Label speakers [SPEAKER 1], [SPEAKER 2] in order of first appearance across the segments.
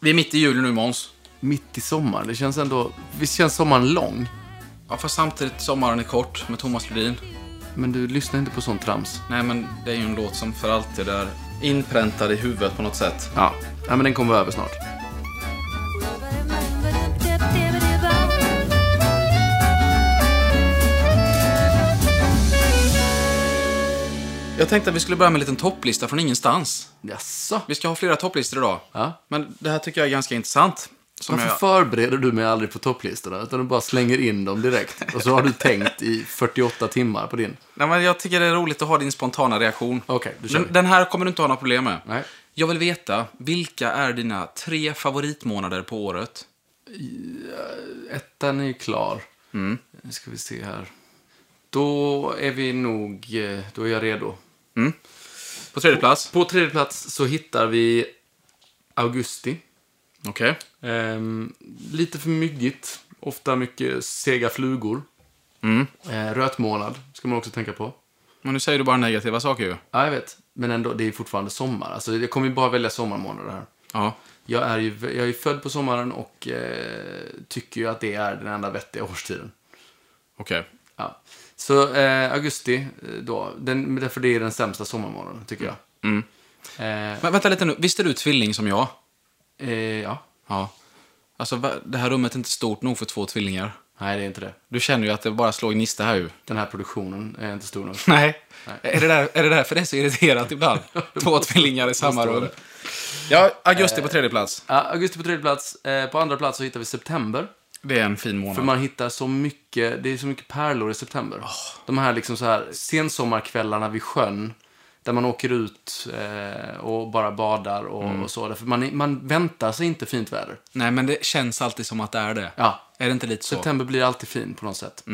[SPEAKER 1] Vi är mitt i julen nu Måns.
[SPEAKER 2] Mitt i sommaren. Det känns ändå... Visst känns sommaren lång?
[SPEAKER 1] Ja, fast samtidigt sommaren är kort med Thomas Ledin.
[SPEAKER 2] Men du lyssnar inte på sånt trams.
[SPEAKER 1] Nej, men det är ju en låt som för alltid är inpräntad i huvudet på något sätt.
[SPEAKER 2] Ja. ja, men den kommer över snart.
[SPEAKER 1] Jag tänkte att vi skulle börja med en liten topplista från ingenstans.
[SPEAKER 2] Jaså?
[SPEAKER 1] Vi ska ha flera topplistor idag.
[SPEAKER 2] Ja.
[SPEAKER 1] Men det här tycker jag är ganska intressant. Som
[SPEAKER 2] Varför
[SPEAKER 1] jag...
[SPEAKER 2] förbereder du mig aldrig på topplistorna? Utan du bara slänger in dem direkt. Och så har du tänkt i 48 timmar på din.
[SPEAKER 1] Nej, men jag tycker det är roligt att ha din spontana reaktion.
[SPEAKER 2] Okej, då kör vi.
[SPEAKER 1] den, den här kommer du inte ha några problem med.
[SPEAKER 2] Nej.
[SPEAKER 1] Jag vill veta, vilka är dina tre favoritmånader på året?
[SPEAKER 2] Ettan är ju klar. Nu ska vi se här. Då är vi nog... eh, Då är jag redo.
[SPEAKER 1] Mm. På tredje plats?
[SPEAKER 2] På tredje plats så hittar vi augusti.
[SPEAKER 1] Okej.
[SPEAKER 2] Ehm, lite för myggigt. Ofta mycket sega flugor.
[SPEAKER 1] Mm.
[SPEAKER 2] Eh, rötmånad ska man också tänka på.
[SPEAKER 1] Men nu säger du bara negativa saker ju.
[SPEAKER 2] Ja, jag vet. Men ändå, det är fortfarande sommar. Alltså, jag kommer ju bara välja sommarmånader här.
[SPEAKER 1] Ja.
[SPEAKER 2] Jag är ju jag är ju född på sommaren och eh, tycker ju att det är den enda vettiga årstiden.
[SPEAKER 1] Okej.
[SPEAKER 2] Ja. Så eh, augusti, eh, då. Den, därför det är den sämsta sommarmånaden, tycker jag. Eh,
[SPEAKER 1] Men vänta lite nu, visst är du tvilling som jag?
[SPEAKER 2] eh, ja.
[SPEAKER 1] Ja. Alltså, va- det här rummet är inte stort nog för två tvillingar.
[SPEAKER 2] Nej, det är inte det.
[SPEAKER 1] Du känner ju att det bara slår gnista här ju.
[SPEAKER 2] Den här produktionen är inte stor nog.
[SPEAKER 1] Nej. Är, det där, är det därför det är så irriterat ibland? Två tvillingar i samma rum. Ja, augusti på tredje plats.
[SPEAKER 2] Ja, augusti på tredje plats. Eh, på andra plats så hittar vi september.
[SPEAKER 1] Det är en fin
[SPEAKER 2] För
[SPEAKER 1] månad.
[SPEAKER 2] man hittar så mycket, det är så mycket pärlor i september. De här liksom så här sensommarkvällarna vid sjön. Där man åker ut eh, och bara badar och, och så. Därför man, är- man väntar sig inte fint väder.
[SPEAKER 1] Nej, men det känns alltid som att det är det.
[SPEAKER 2] Ja, Mm.
[SPEAKER 1] Är det inte lite så?
[SPEAKER 2] september blir alltid fin på något sätt.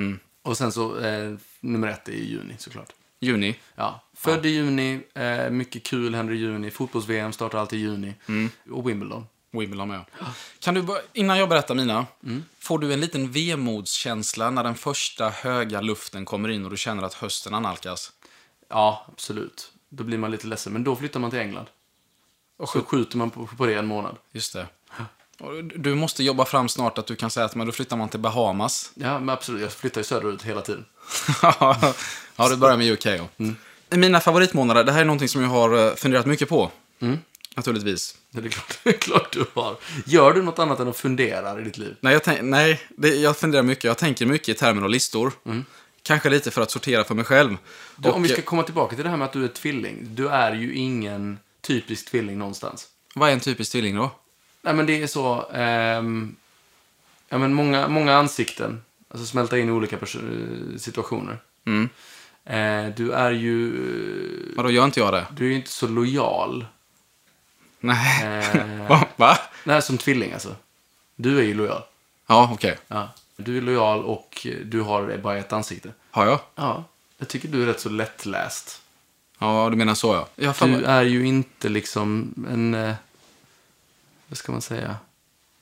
[SPEAKER 2] Och sen så, eh, nummer ett är ju juni såklart.
[SPEAKER 1] Juni.
[SPEAKER 2] Ja, född i juni, eh, mycket kul händer i juni. Fotbolls-VM startar alltid i juni. Och Wimbledon.
[SPEAKER 1] Wimbledon med. Kan du, bara- innan jag berättar mina, får du en liten vemodskänsla när den första höga luften kommer in och du känner att hösten analkas?
[SPEAKER 2] Ja, absolut. Då blir man lite ledsen, men då flyttar man till England. Och så skjuter man på, på det en månad.
[SPEAKER 1] Just det. Och Du måste jobba fram snart att du kan säga att men då flyttar man till Bahamas.
[SPEAKER 2] Ja, men absolut. Jag flyttar ju söderut hela tiden.
[SPEAKER 1] ja, du börjar med UK. Ja. Mm. Mina favoritmånader, det här är någonting som jag har eh, funderat mycket på.
[SPEAKER 2] Mm.
[SPEAKER 1] Naturligtvis.
[SPEAKER 2] Det är klart, det är klart du har. Gör du något annat än att fundera i ditt liv?
[SPEAKER 1] Nej, jag, tänk, nej det, jag funderar mycket. Jag tänker mycket i termer och listor. Kanske lite för att sortera för mig själv.
[SPEAKER 2] Mm. Du, om vi
[SPEAKER 1] Och, eh,
[SPEAKER 2] ska komma tillbaka till det här med att du är tvilling. Du är ju ingen typisk tvilling någonstans.
[SPEAKER 1] eh, Vad är en typisk tvilling då?
[SPEAKER 2] Nej, men det är så... ehm, ja, men många, många ansikten. Alltså smälta in i olika perso- eh, situationer.
[SPEAKER 1] Mm.
[SPEAKER 2] Eh, du är ju... eh,
[SPEAKER 1] Vadå, gör inte jag det?
[SPEAKER 2] Du är ju inte så lojal.
[SPEAKER 1] Nej.
[SPEAKER 2] Eh.
[SPEAKER 1] Va? Va?
[SPEAKER 2] Nej, som tvilling alltså. Du är ju lojal.
[SPEAKER 1] Ja, okej.
[SPEAKER 2] Ja. Du är lojal och du har bara ett ansikte.
[SPEAKER 1] Har jag?
[SPEAKER 2] Ja, jag tycker du är rätt så lättläst.
[SPEAKER 1] Ja, du menar så ja. Jag har fan-
[SPEAKER 2] Du är ju inte liksom en... eh, Vad ska man säga?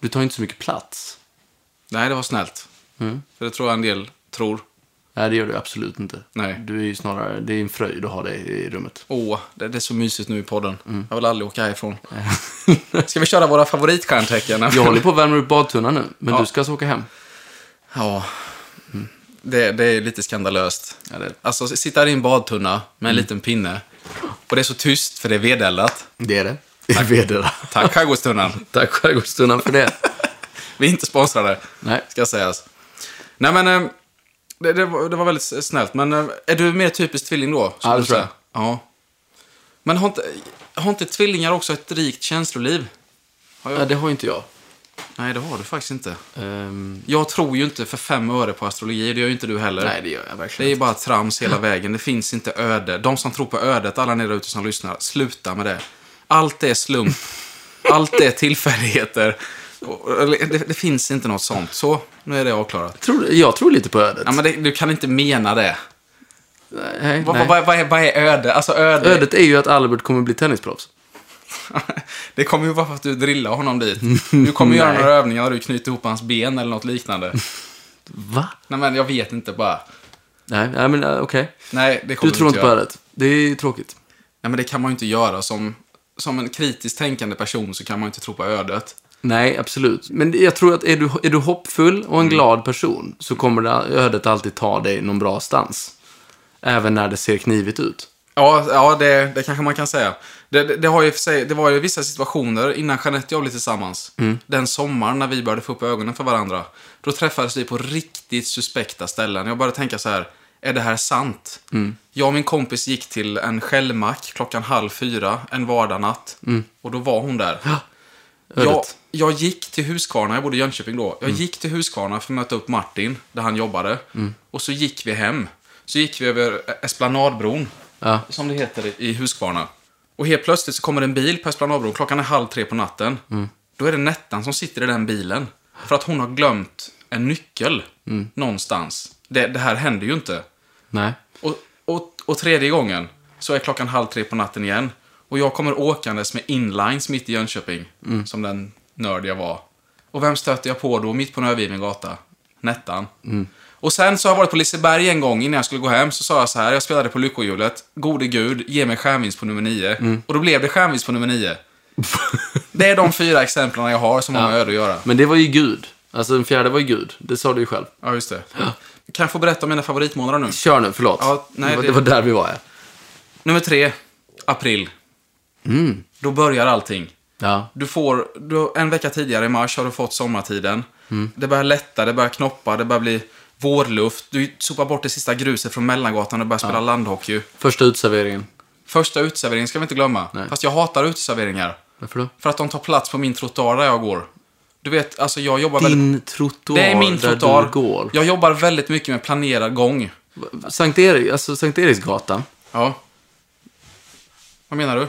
[SPEAKER 2] Du tar ju inte så mycket plats.
[SPEAKER 1] Nej, det var snällt.
[SPEAKER 2] Mm.
[SPEAKER 1] För det tror jag en del tror.
[SPEAKER 2] Nej, det gör du absolut inte.
[SPEAKER 1] Nej.
[SPEAKER 2] Du är ju snarare... Det är en fröjd att ha dig i rummet.
[SPEAKER 1] Åh, det, det är så mysigt nu i podden.
[SPEAKER 2] Mm.
[SPEAKER 1] Jag vill aldrig åka härifrån. Ska vi köra våra favoritstjärntecken?
[SPEAKER 2] Jag håller på att värma upp badtunnan nu, men
[SPEAKER 1] Ja.
[SPEAKER 2] du ska alltså åka hem.
[SPEAKER 1] Ja. Det, det är lite skandalöst.
[SPEAKER 2] Mm. Ja, det- Mm.
[SPEAKER 1] Alltså, s- sitta i en badtunna med en liten pinne. Och det är så tyst för det är vedeldat.
[SPEAKER 2] Det är det. I Vedera.
[SPEAKER 1] Tack skärgårdstunnan.
[SPEAKER 2] Tack skärgårdstunnan för det.
[SPEAKER 1] Vi är inte sponsrade,
[SPEAKER 2] Nej.
[SPEAKER 1] ska sägas. Nej, men eh, det, det, var, det var väldigt s- snällt. Men eh, är du mer typisk tvilling då? skulle
[SPEAKER 2] Ja, det
[SPEAKER 1] du
[SPEAKER 2] tror
[SPEAKER 1] säga? Ja. Men har inte, har inte tvillingar också ett rikt känsloliv?
[SPEAKER 2] Ja, det har ju inte jag.
[SPEAKER 1] Nej, det har du faktiskt inte.
[SPEAKER 2] Ehm,
[SPEAKER 1] Jag tror ju inte för fem öre på astrologi, det gör ju inte du heller.
[SPEAKER 2] nej, det gör jag
[SPEAKER 1] Det
[SPEAKER 2] verkligen
[SPEAKER 1] är ju bara trams hela vägen, det finns inte öde. De som tror på ödet, alla ni där ute som lyssnar, sluta med det. Allt är slump. Allt är tillfälligheter. Och- och Det, det finns inte något sånt. Så, nu är det avklarat.
[SPEAKER 2] inte. Tror, jag tror lite på ödet.
[SPEAKER 1] Ja, men det, du kan inte mena det.
[SPEAKER 2] nej,
[SPEAKER 1] Vad,
[SPEAKER 2] nej.
[SPEAKER 1] vad, vad, är, vad är öde? Alltså öde...
[SPEAKER 2] Ödet är ju att Albert kommer bli tennisproffs.
[SPEAKER 1] Det kommer ju vara för att du drillar honom dit. Du kommer göra
[SPEAKER 2] Nej.
[SPEAKER 1] några övningar där du knyter ihop hans ben eller något liknande.
[SPEAKER 2] Va?
[SPEAKER 1] Nej, men jag vet inte bara.
[SPEAKER 2] Nej, nej men eh, okej.
[SPEAKER 1] Nej, det
[SPEAKER 2] Du
[SPEAKER 1] kommer
[SPEAKER 2] tror inte
[SPEAKER 1] göra.
[SPEAKER 2] på ödet. Det är tråkigt.
[SPEAKER 1] Nej, men det kan man ju inte göra. Som, som en kritiskt tänkande person så kan man ju inte tro på ödet.
[SPEAKER 2] Nej, absolut. Men jag tror att är du, är du hoppfull och en
[SPEAKER 1] Mm.
[SPEAKER 2] glad person så kommer det, ödet alltid ta dig någon bra stans. Även när det ser knivigt ut.
[SPEAKER 1] Ja, ja det, det kanske man kan säga. Det, det, det har ju för sig, det var ju vissa situationer innan Jeanette och jag blev tillsammans.
[SPEAKER 2] Mm.
[SPEAKER 1] Den sommaren när vi började få upp ögonen för varandra. Då träffades vi på riktigt suspekta ställen. Jag började tänka så här, är det här sant?
[SPEAKER 2] Mm.
[SPEAKER 1] Jag och min kompis gick till en skällmack klockan halv fyra en vardagsnatt. Och då var hon där. Jag,
[SPEAKER 2] Mm. ödet. Mm.
[SPEAKER 1] jag gick till Huskvarna, jag bodde i Jönköping då. Jag gick till Huskvarna för att möta upp Martin, där han jobbade. Och så gick vi hem. Så gick vi över Esplanadbron
[SPEAKER 2] Ja.
[SPEAKER 1] som det heter i Huskvarna. Och helt plötsligt så kommer det en bil på Esplanadbron. Klockan är halv tre på natten. Då är det Nettan som sitter i den bilen. För att hon har glömt en nyckel någonstans. Det, det här händer ju inte.
[SPEAKER 2] Nej.
[SPEAKER 1] Och, och, och tredje gången så är klockan halv tre på natten igen. Och jag kommer åkandes med inlines mitt i Jönköping. Som den nörd jag var. Och vem stöter jag på då mitt på en övergiven gata? Nettan. Och sen så har jag varit på Liseberg en gång innan jag skulle gå hem. Så sa jag så här, jag spelade på lyckohjulet. Gode gud, ge mig stjärnvinst på nummer nio. Och då blev det stjärnvinst på nummer nio. det är de fyra exemplen jag har som har med öde att göra.
[SPEAKER 2] Men det var ju Gud. Alltså den fjärde var ju Gud. Det sa du ju själv.
[SPEAKER 1] Ja, just det. Kan jag få berätta om mina favoritmånader nu?
[SPEAKER 2] Kör nu, förlåt.
[SPEAKER 1] Ja, nej,
[SPEAKER 2] det, var,
[SPEAKER 1] det-
[SPEAKER 2] det var där vi var, ja.
[SPEAKER 1] Nummer tre, april. Då börjar allting.
[SPEAKER 2] Mm. Ja.
[SPEAKER 1] Du får, du, en vecka tidigare i mars har du fått sommartiden.
[SPEAKER 2] Mm.
[SPEAKER 1] Det börjar lätta, det börjar knoppa, det börjar bli vårluft. Du sopar bort det sista gruset från mellangatan och börjar spela landhockey.
[SPEAKER 2] Första utserveringen.
[SPEAKER 1] Första uteserveringen ska vi inte glömma. Fast jag hatar uteserveringar.
[SPEAKER 2] Varför då?
[SPEAKER 1] För att de tar plats på min trottoar där jag går. Du vet, alltså jag jobbar väldigt...
[SPEAKER 2] Din trottoar
[SPEAKER 1] Det är min
[SPEAKER 2] där
[SPEAKER 1] trottoar.
[SPEAKER 2] du går.
[SPEAKER 1] Jag jobbar väldigt mycket med planerad gång.
[SPEAKER 2] Sankt, Erik, alltså Sankt Eriksgatan.
[SPEAKER 1] Ja. Vad menar du?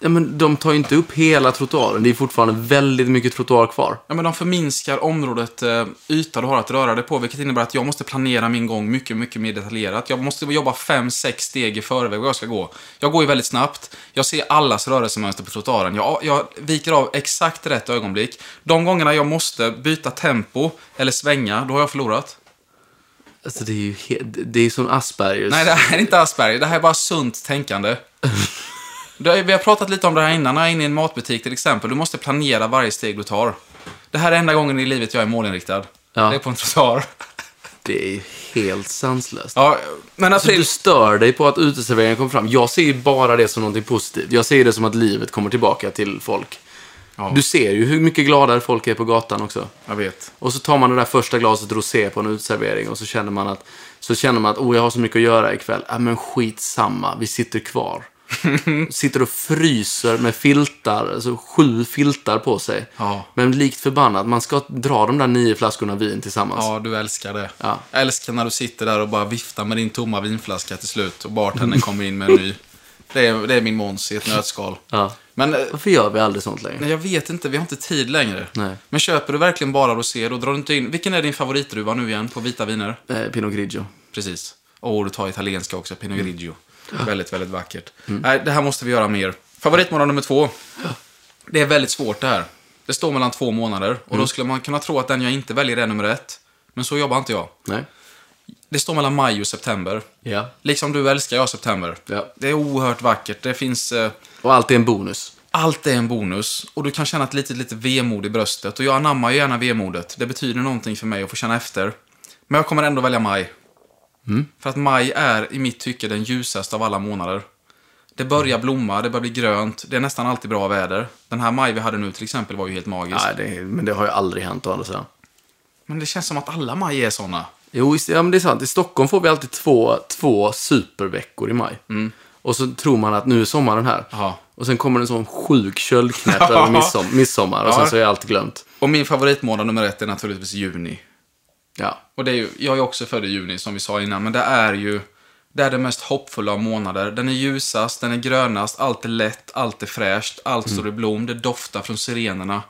[SPEAKER 2] Ja, men de tar ju inte upp hela trottoaren. Det är fortfarande väldigt mycket trottoar kvar.
[SPEAKER 1] Ja, men de förminskar området eh, yta du har att röra dig på, vilket innebär att jag måste planera min gång mycket, mycket mer detaljerat. Jag måste jobba fem, sex steg i förväg vad jag ska gå. Jag går ju väldigt snabbt. Jag ser allas rörelsemönster på trottoaren. Jag, jag viker av exakt rätt ögonblick. De gångerna jag måste byta tempo eller svänga, då har jag förlorat.
[SPEAKER 2] Alltså det är ju he- det är som Aspergers.
[SPEAKER 1] Nej, det här är inte Asperger. Det här är bara sunt tänkande. Du har- Vi har pratat lite om det här innan. När jag är inne i en matbutik till exempel. Du måste planera varje steg du tar. Det här är enda gången i livet jag är målinriktad.
[SPEAKER 2] Ja.
[SPEAKER 1] Det är på en trottoar.
[SPEAKER 2] Det är ju helt sanslöst.
[SPEAKER 1] Ja, men
[SPEAKER 2] Alltså,
[SPEAKER 1] april...
[SPEAKER 2] du stör dig på att uteserveringen kommer fram. Jag ser ju bara det som någonting positivt. Jag ser det som att livet kommer tillbaka till folk.
[SPEAKER 1] Ja.
[SPEAKER 2] Du ser ju hur mycket gladare folk är på gatan också.
[SPEAKER 1] Jag vet.
[SPEAKER 2] Och så tar man det där första glaset rosé på en uteservering och så känner man att, så känner man att oh, jag har så mycket att göra ikväll. Äh, men skitsamma, vi sitter kvar. sitter och fryser med filtar, alltså sju filtar på sig.
[SPEAKER 1] Ja.
[SPEAKER 2] Men likt förbannat, man ska dra de där nio flaskorna vin tillsammans.
[SPEAKER 1] Ja, du älskar det.
[SPEAKER 2] Ja.
[SPEAKER 1] Jag älskar när du sitter där och bara viftar med din tomma vinflaska till slut och bartendern kommer in med en ny. Det är, det är min Måns i ett nötskal.
[SPEAKER 2] Ja.
[SPEAKER 1] Men eh,
[SPEAKER 2] Varför gör vi aldrig sånt längre?
[SPEAKER 1] nej, jag vet inte, vi har inte tid längre.
[SPEAKER 2] Nej.
[SPEAKER 1] Men köper du verkligen bara rosé, då drar du inte in... Vilken är din favoritdruva nu igen på vita viner?
[SPEAKER 2] Eh, Pinot Grigio.
[SPEAKER 1] Precis. Och du tar italienska också, Pinot Grigio. Väldigt, väldigt vackert. Nej, det här måste vi göra mer. Favoritmånad nummer två. Det är väldigt svårt det här. Det står mellan två månader. Och då skulle man kunna tro att den jag inte väljer är nummer ett. Men så jobbar inte jag.
[SPEAKER 2] Nej.
[SPEAKER 1] Det står mellan maj och september.
[SPEAKER 2] Ja.
[SPEAKER 1] Liksom du älskar jag september.
[SPEAKER 2] Ja.
[SPEAKER 1] Det är oerhört vackert. Det finns... Eh,
[SPEAKER 2] Och allt är en bonus.
[SPEAKER 1] allt är en bonus och du kan känna ett litet, litet vemod i bröstet. Och jag anammar ju gärna vemodet. Det betyder någonting för mig att få känna efter. Men jag kommer ändå välja maj. För att maj är i mitt tycke den ljusaste av alla månader. Det börjar blomma, det börjar bli grönt, det är nästan alltid bra väder. Den här maj vi hade nu till exempel var ju helt magisk.
[SPEAKER 2] Nej, det, men det har ju aldrig hänt å andra sidan.
[SPEAKER 1] Men det känns som att alla maj är såna.
[SPEAKER 2] Jo, visst, ja, men det är sant. I Stockholm får vi alltid två, två superveckor i maj. Och så tror man att nu är sommaren här.
[SPEAKER 1] Mm. Ja.
[SPEAKER 2] Och sen kommer en sån sjuk köldknäpp över midsom- midsommar och sen
[SPEAKER 1] Ja.
[SPEAKER 2] så är allt glömt.
[SPEAKER 1] Och min favoritmånad nummer ett är naturligtvis juni.
[SPEAKER 2] Ja.
[SPEAKER 1] Och det är ju, jag är också född i juni som vi sa innan, men det är ju det är det mest hoppfulla av månader. Den är ljusast, den är grönast, allt är lätt, allt är fräscht, allt står i blom, det doftar från sirenerna.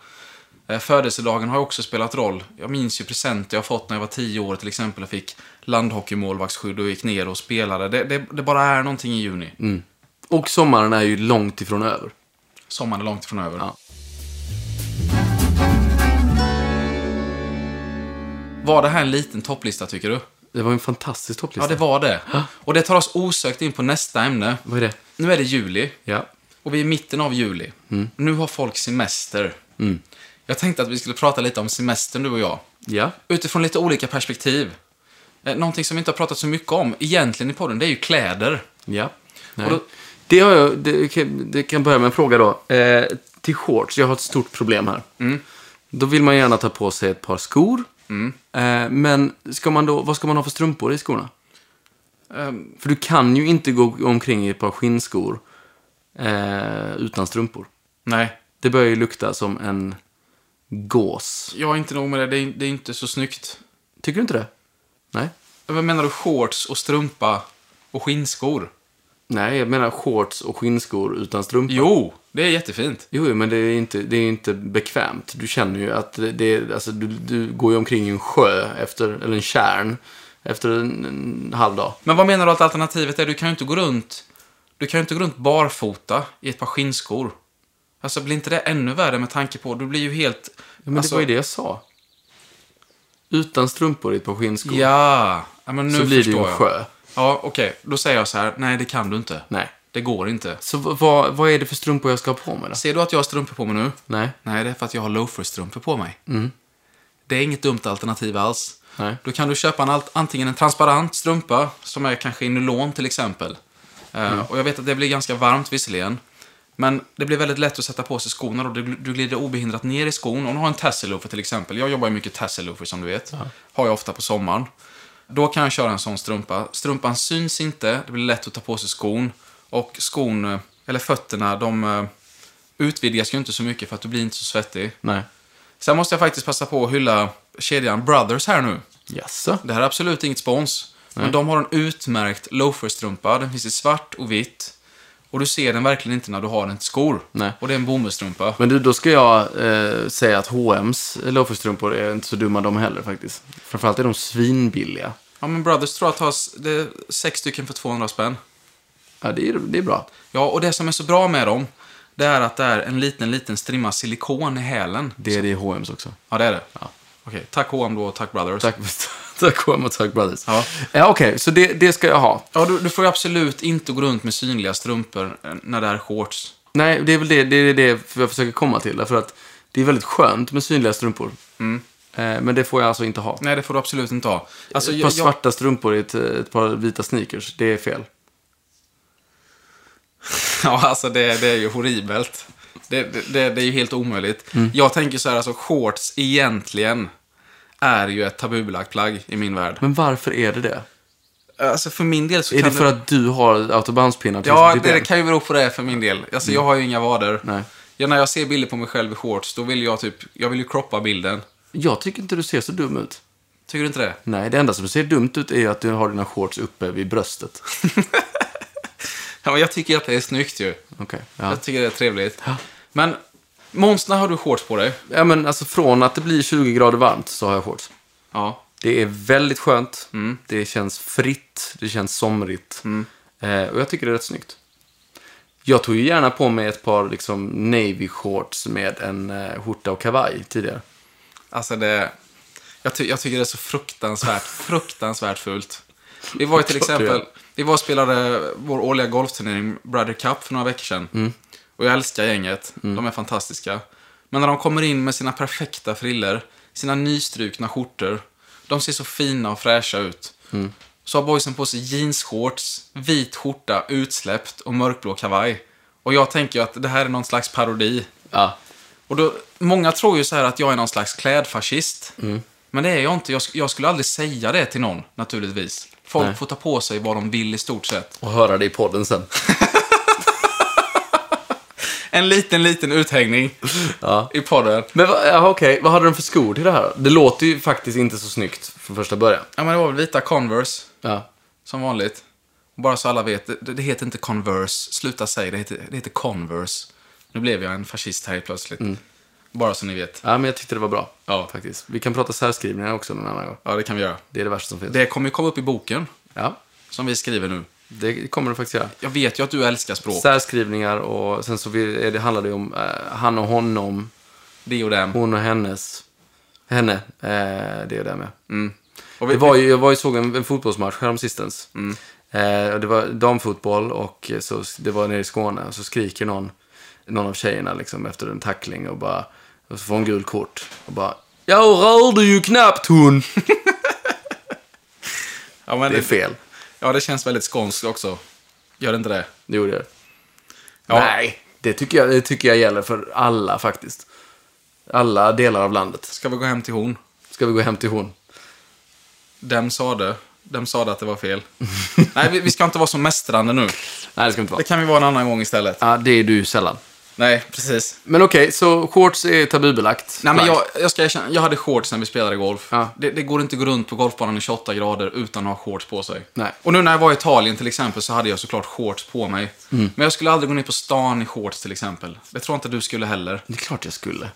[SPEAKER 1] Eh, Födelsedagen har ju också spelat roll. Jag minns ju presenter jag fått när jag var tio år till exempel och fick landhockeymålvaktsskydd och gick ner och spelade. Det, det, det bara är någonting i juni.
[SPEAKER 2] Och sommaren är ju långt ifrån över.
[SPEAKER 1] Sommaren är långt ifrån över.
[SPEAKER 2] Ja.
[SPEAKER 1] Var det här en liten topplista tycker du?
[SPEAKER 2] Det var en fantastisk
[SPEAKER 1] Ja,
[SPEAKER 2] topplista.
[SPEAKER 1] det var det. Och det tar oss osökt in på nästa ämne.
[SPEAKER 2] Vad är det?
[SPEAKER 1] Nu är det juli
[SPEAKER 2] Ja.
[SPEAKER 1] Mm. och vi är i mitten av juli. Nu har folk semester. Jag tänkte att vi skulle prata lite om semestern, du och jag.
[SPEAKER 2] Ja.
[SPEAKER 1] Utifrån lite olika perspektiv. Eh, Någonting som vi inte har pratat så mycket om egentligen i podden, det är ju kläder.
[SPEAKER 2] Ja. Nej.
[SPEAKER 1] Och då-
[SPEAKER 2] det, har jag, det, kan- det kan börja med en fråga då. Eh, till shorts, jag har ett stort problem här. Då vill man gärna ta på sig ett par skor. Eh, men ska man då, vad ska man ha för strumpor i skorna?
[SPEAKER 1] Ehm,
[SPEAKER 2] För du kan ju inte gå omkring i ett par skinnskor eh, utan strumpor.
[SPEAKER 1] nej,
[SPEAKER 2] Det börjar ju lukta som en gås.
[SPEAKER 1] jag är inte nog med det. Det är, det är inte så snyggt.
[SPEAKER 2] Tycker du inte det? Nej.
[SPEAKER 1] Vad menar du? Shorts och strumpa och skinnskor?
[SPEAKER 2] Nej, jag menar shorts och skinnskor utan strumpor.
[SPEAKER 1] Jo, det är jättefint.
[SPEAKER 2] Jo, jo, men det är inte, det är inte bekvämt. Du känner ju att det- det är, alltså, du, du går ju omkring i en sjö, efter, eller en kärn, efter en, en halv dag.
[SPEAKER 1] Men vad menar du att alternativet är? Du kan ju inte gå runt, du kan ju inte gå runt barfota i ett par skinnskor. Alltså blir inte det ännu värre med tanke på, du blir ju helt...
[SPEAKER 2] Ja, men
[SPEAKER 1] alltså,
[SPEAKER 2] det var ju det jag sa. Utan strumpor i ett par skinnskor
[SPEAKER 1] Ja, ja men nu
[SPEAKER 2] så blir det ju
[SPEAKER 1] förstår
[SPEAKER 2] en
[SPEAKER 1] jag.
[SPEAKER 2] sjö.
[SPEAKER 1] Ja, okej. Då säger jag så här, nej det kan du inte.
[SPEAKER 2] Nej.
[SPEAKER 1] Det går inte.
[SPEAKER 2] Så v- vad, vad är det för strumpor jag ska ha på mig då?
[SPEAKER 1] Ser du att jag har strumpor på mig nu?
[SPEAKER 2] Nej.
[SPEAKER 1] Nej, det är för att jag har loaferstrumpor på mig. Det är inget dumt alternativ alls.
[SPEAKER 2] Nej.
[SPEAKER 1] Då kan du köpa en, alt- antingen en transparent strumpa, som är kanske i nylon till exempel. Eh, Och jag vet att det blir ganska varmt visserligen. Men det blir väldigt lätt att sätta på sig skorna och du, du glider obehindrat ner i skon. Om du har en tasseloofer till exempel. Jag jobbar ju mycket tasseloofer som du vet. Har jag ofta på sommaren. Då kan jag köra en sån strumpa. Strumpan syns inte, det blir lätt att ta på sig skon. Och skon, eh, eller fötterna, de eh, utvidgas ju inte så mycket för att du blir inte så svettig.
[SPEAKER 2] Nej.
[SPEAKER 1] Sen måste jag faktiskt passa på att hylla kedjan Brothers här nu.
[SPEAKER 2] Jaså?
[SPEAKER 1] Det här är absolut inget spons. Men de har en utmärkt loaferstrumpa. Den finns i svart och vitt. Och du ser den verkligen inte när du har den till skor.
[SPEAKER 2] Nej.
[SPEAKER 1] Och det är en bomullstrumpa.
[SPEAKER 2] Men du, då ska jag eh, säga att H&M's loaferstrumpor är inte så dumma de heller faktiskt. Framförallt är de svinbilliga.
[SPEAKER 1] Ja, men Brothers tror jag tar s- det är sex stycken för 200 spänn.
[SPEAKER 2] Ja, det är, det är bra.
[SPEAKER 1] Ja, och det som är så bra med dem, det är att det är en liten, liten strimma silikon i hälen.
[SPEAKER 2] Det är det i H&M's också.
[SPEAKER 1] Ja, det är det. Okej, tack H&M då och tack Brothers.
[SPEAKER 2] Tack, tack H&M och tack Brothers.
[SPEAKER 1] Ja.
[SPEAKER 2] Ja, Okej, så det, det ska jag ha.
[SPEAKER 1] Ja, du, du får ju absolut inte gå runt med synliga strumpor eh, när det är shorts.
[SPEAKER 2] Nej, det är väl det, det, är det jag försöker komma till. Därför att det är väldigt skönt med synliga strumpor. Eh, men det får jag alltså inte ha.
[SPEAKER 1] Mm. Nej, det får du absolut inte ha. Alltså,
[SPEAKER 2] ett par
[SPEAKER 1] jag, jag,
[SPEAKER 2] svarta strumpor i ett, ett par vita sneakers, det är fel.
[SPEAKER 1] ja, alltså det, det är ju horribelt. Det, det, det, det är ju helt omöjligt.
[SPEAKER 2] Mm.
[SPEAKER 1] Jag tänker så här, alltså shorts egentligen är ju ett tabubelagt plagg i min värld.
[SPEAKER 2] Men varför är det det?
[SPEAKER 1] Alltså för min del så
[SPEAKER 2] Är
[SPEAKER 1] kan
[SPEAKER 2] det för att du har autobandspinnar till
[SPEAKER 1] Ja,
[SPEAKER 2] ditt
[SPEAKER 1] det,
[SPEAKER 2] ben?
[SPEAKER 1] det kan ju bero på det för min del. Alltså, jag har ju inga vader.
[SPEAKER 2] Mm. Nej.
[SPEAKER 1] Ja, när jag ser bilder på mig själv i shorts, då vill jag typ, jag vill ju croppa bilden.
[SPEAKER 2] Jag tycker inte du ser så dum ut.
[SPEAKER 1] Tycker du inte det?
[SPEAKER 2] Nej, det enda som ser dumt ut är ju att du har dina shorts uppe vid bröstet.
[SPEAKER 1] Ja, men jag tycker att det är snyggt ju.
[SPEAKER 2] Okej. Ja.
[SPEAKER 1] Jag tycker det är trevligt. Men, Måns, när har du shorts på dig?
[SPEAKER 2] ja, men alltså från att det blir 20 grader varmt så har jag shorts.
[SPEAKER 1] Ja.
[SPEAKER 2] Det är väldigt skönt. Det känns fritt. Det känns somrigt. Eh, och jag tycker det är rätt snyggt. Jag tog ju gärna på mig ett par liksom, navy shorts med en eh, skjorta och kavaj tidigare.
[SPEAKER 1] Alltså det... Jag, ty- jag tycker det är så fruktansvärt, fruktansvärt fult. Vi var ju till
[SPEAKER 2] Klart det
[SPEAKER 1] exempel...
[SPEAKER 2] är.
[SPEAKER 1] Vi var och spelade vår årliga golfturnering Brother Cup för några veckor sedan.
[SPEAKER 2] Mm.
[SPEAKER 1] Och jag älskar gänget. De är fantastiska. Men när de kommer in med sina perfekta friller, sina nystrukna skjortor. De ser så fina och fräscha ut.
[SPEAKER 2] Mm.
[SPEAKER 1] Så har boysen på sig jeansshorts, vit skjorta, utsläppt och mörkblå kavaj. Och jag tänker ju att det här är någon slags parodi.
[SPEAKER 2] Ja.
[SPEAKER 1] Och då, många tror ju så här att jag är någon slags klädfascist.
[SPEAKER 2] Mm.
[SPEAKER 1] Men det är jag inte. Jag, sk- jag skulle aldrig säga det till någon, naturligtvis. Folk får ta på sig vad de vill i stort sett.
[SPEAKER 2] Och höra det i podden sen.
[SPEAKER 1] En liten, liten uthängning
[SPEAKER 2] Ja.
[SPEAKER 1] i podden.
[SPEAKER 2] Men va- ja, okej, vad hade de för skor till det här då? Det låter ju faktiskt inte så snyggt från första början.
[SPEAKER 1] Ja, men det var väl vita Converse,
[SPEAKER 2] Ja.
[SPEAKER 1] som vanligt. Bara så alla vet, det, det heter inte Converse. Sluta säga det, heter, det heter Converse. Nu blev jag en fascist här helt plötsligt.
[SPEAKER 2] Mm.
[SPEAKER 1] Bara så ni vet.
[SPEAKER 2] ja, men jag tyckte det var bra.
[SPEAKER 1] Ja.
[SPEAKER 2] Faktiskt. Vi kan prata särskrivningar också någon annan gång.
[SPEAKER 1] Ja, det kan vi göra.
[SPEAKER 2] Det är det värsta som finns.
[SPEAKER 1] Det kommer ju komma upp i boken,
[SPEAKER 2] Ja,
[SPEAKER 1] som vi skriver nu.
[SPEAKER 2] det kommer det faktiskt göra.
[SPEAKER 1] Jag vet ju att du älskar språk.
[SPEAKER 2] särskrivningar och sen så vi- är det, handlar det ju om eh, han och honom,
[SPEAKER 1] Det och dem.
[SPEAKER 2] hon och hennes, henne, eh, det är det med.
[SPEAKER 1] Mm. Och
[SPEAKER 2] Det
[SPEAKER 1] vi, Mm.
[SPEAKER 2] var ju, jag var ju såg en, en fotbollsmatch häromsistens. Eh, och det var damfotboll och så, det var nere i Skåne och så skriker någon, någon av tjejerna liksom efter en tackling och bara Och så får hon gul kort. Och bara, jag rörde ju knappt hon.
[SPEAKER 1] Ja, men
[SPEAKER 2] Det är fel.
[SPEAKER 1] Ja, det känns väldigt skånskt också. Gör det inte det?
[SPEAKER 2] Det gjorde jag.
[SPEAKER 1] Ja.
[SPEAKER 2] Nej, det tycker, jag, det tycker jag gäller för alla faktiskt. Alla delar av landet.
[SPEAKER 1] Ska vi gå hem till hon?
[SPEAKER 2] Ska vi gå hem till hon?
[SPEAKER 1] Dem sa det. Dem sa det att det var fel. Nej, vi, vi ska inte vara så mästrande nu.
[SPEAKER 2] Nej, det ska inte vara.
[SPEAKER 1] Det kan vi vara en annan gång istället.
[SPEAKER 2] Ja, det är du sällan.
[SPEAKER 1] Nej, precis.
[SPEAKER 2] Men okej, så shorts är tabubelagt.
[SPEAKER 1] Nej, men
[SPEAKER 2] Plagg.
[SPEAKER 1] jag, jag ska erkänna, jag hade shorts när vi spelade golf.
[SPEAKER 2] Ja.
[SPEAKER 1] Det, det går inte att gå runt på golfbanan i 28 grader utan att ha shorts på sig.
[SPEAKER 2] Nej.
[SPEAKER 1] Och nu när jag var i Italien till exempel så hade jag såklart shorts på mig. Men jag skulle aldrig gå ner på stan i shorts till exempel. Det tror jag inte du skulle heller. Nej,
[SPEAKER 2] Det är klart jag skulle.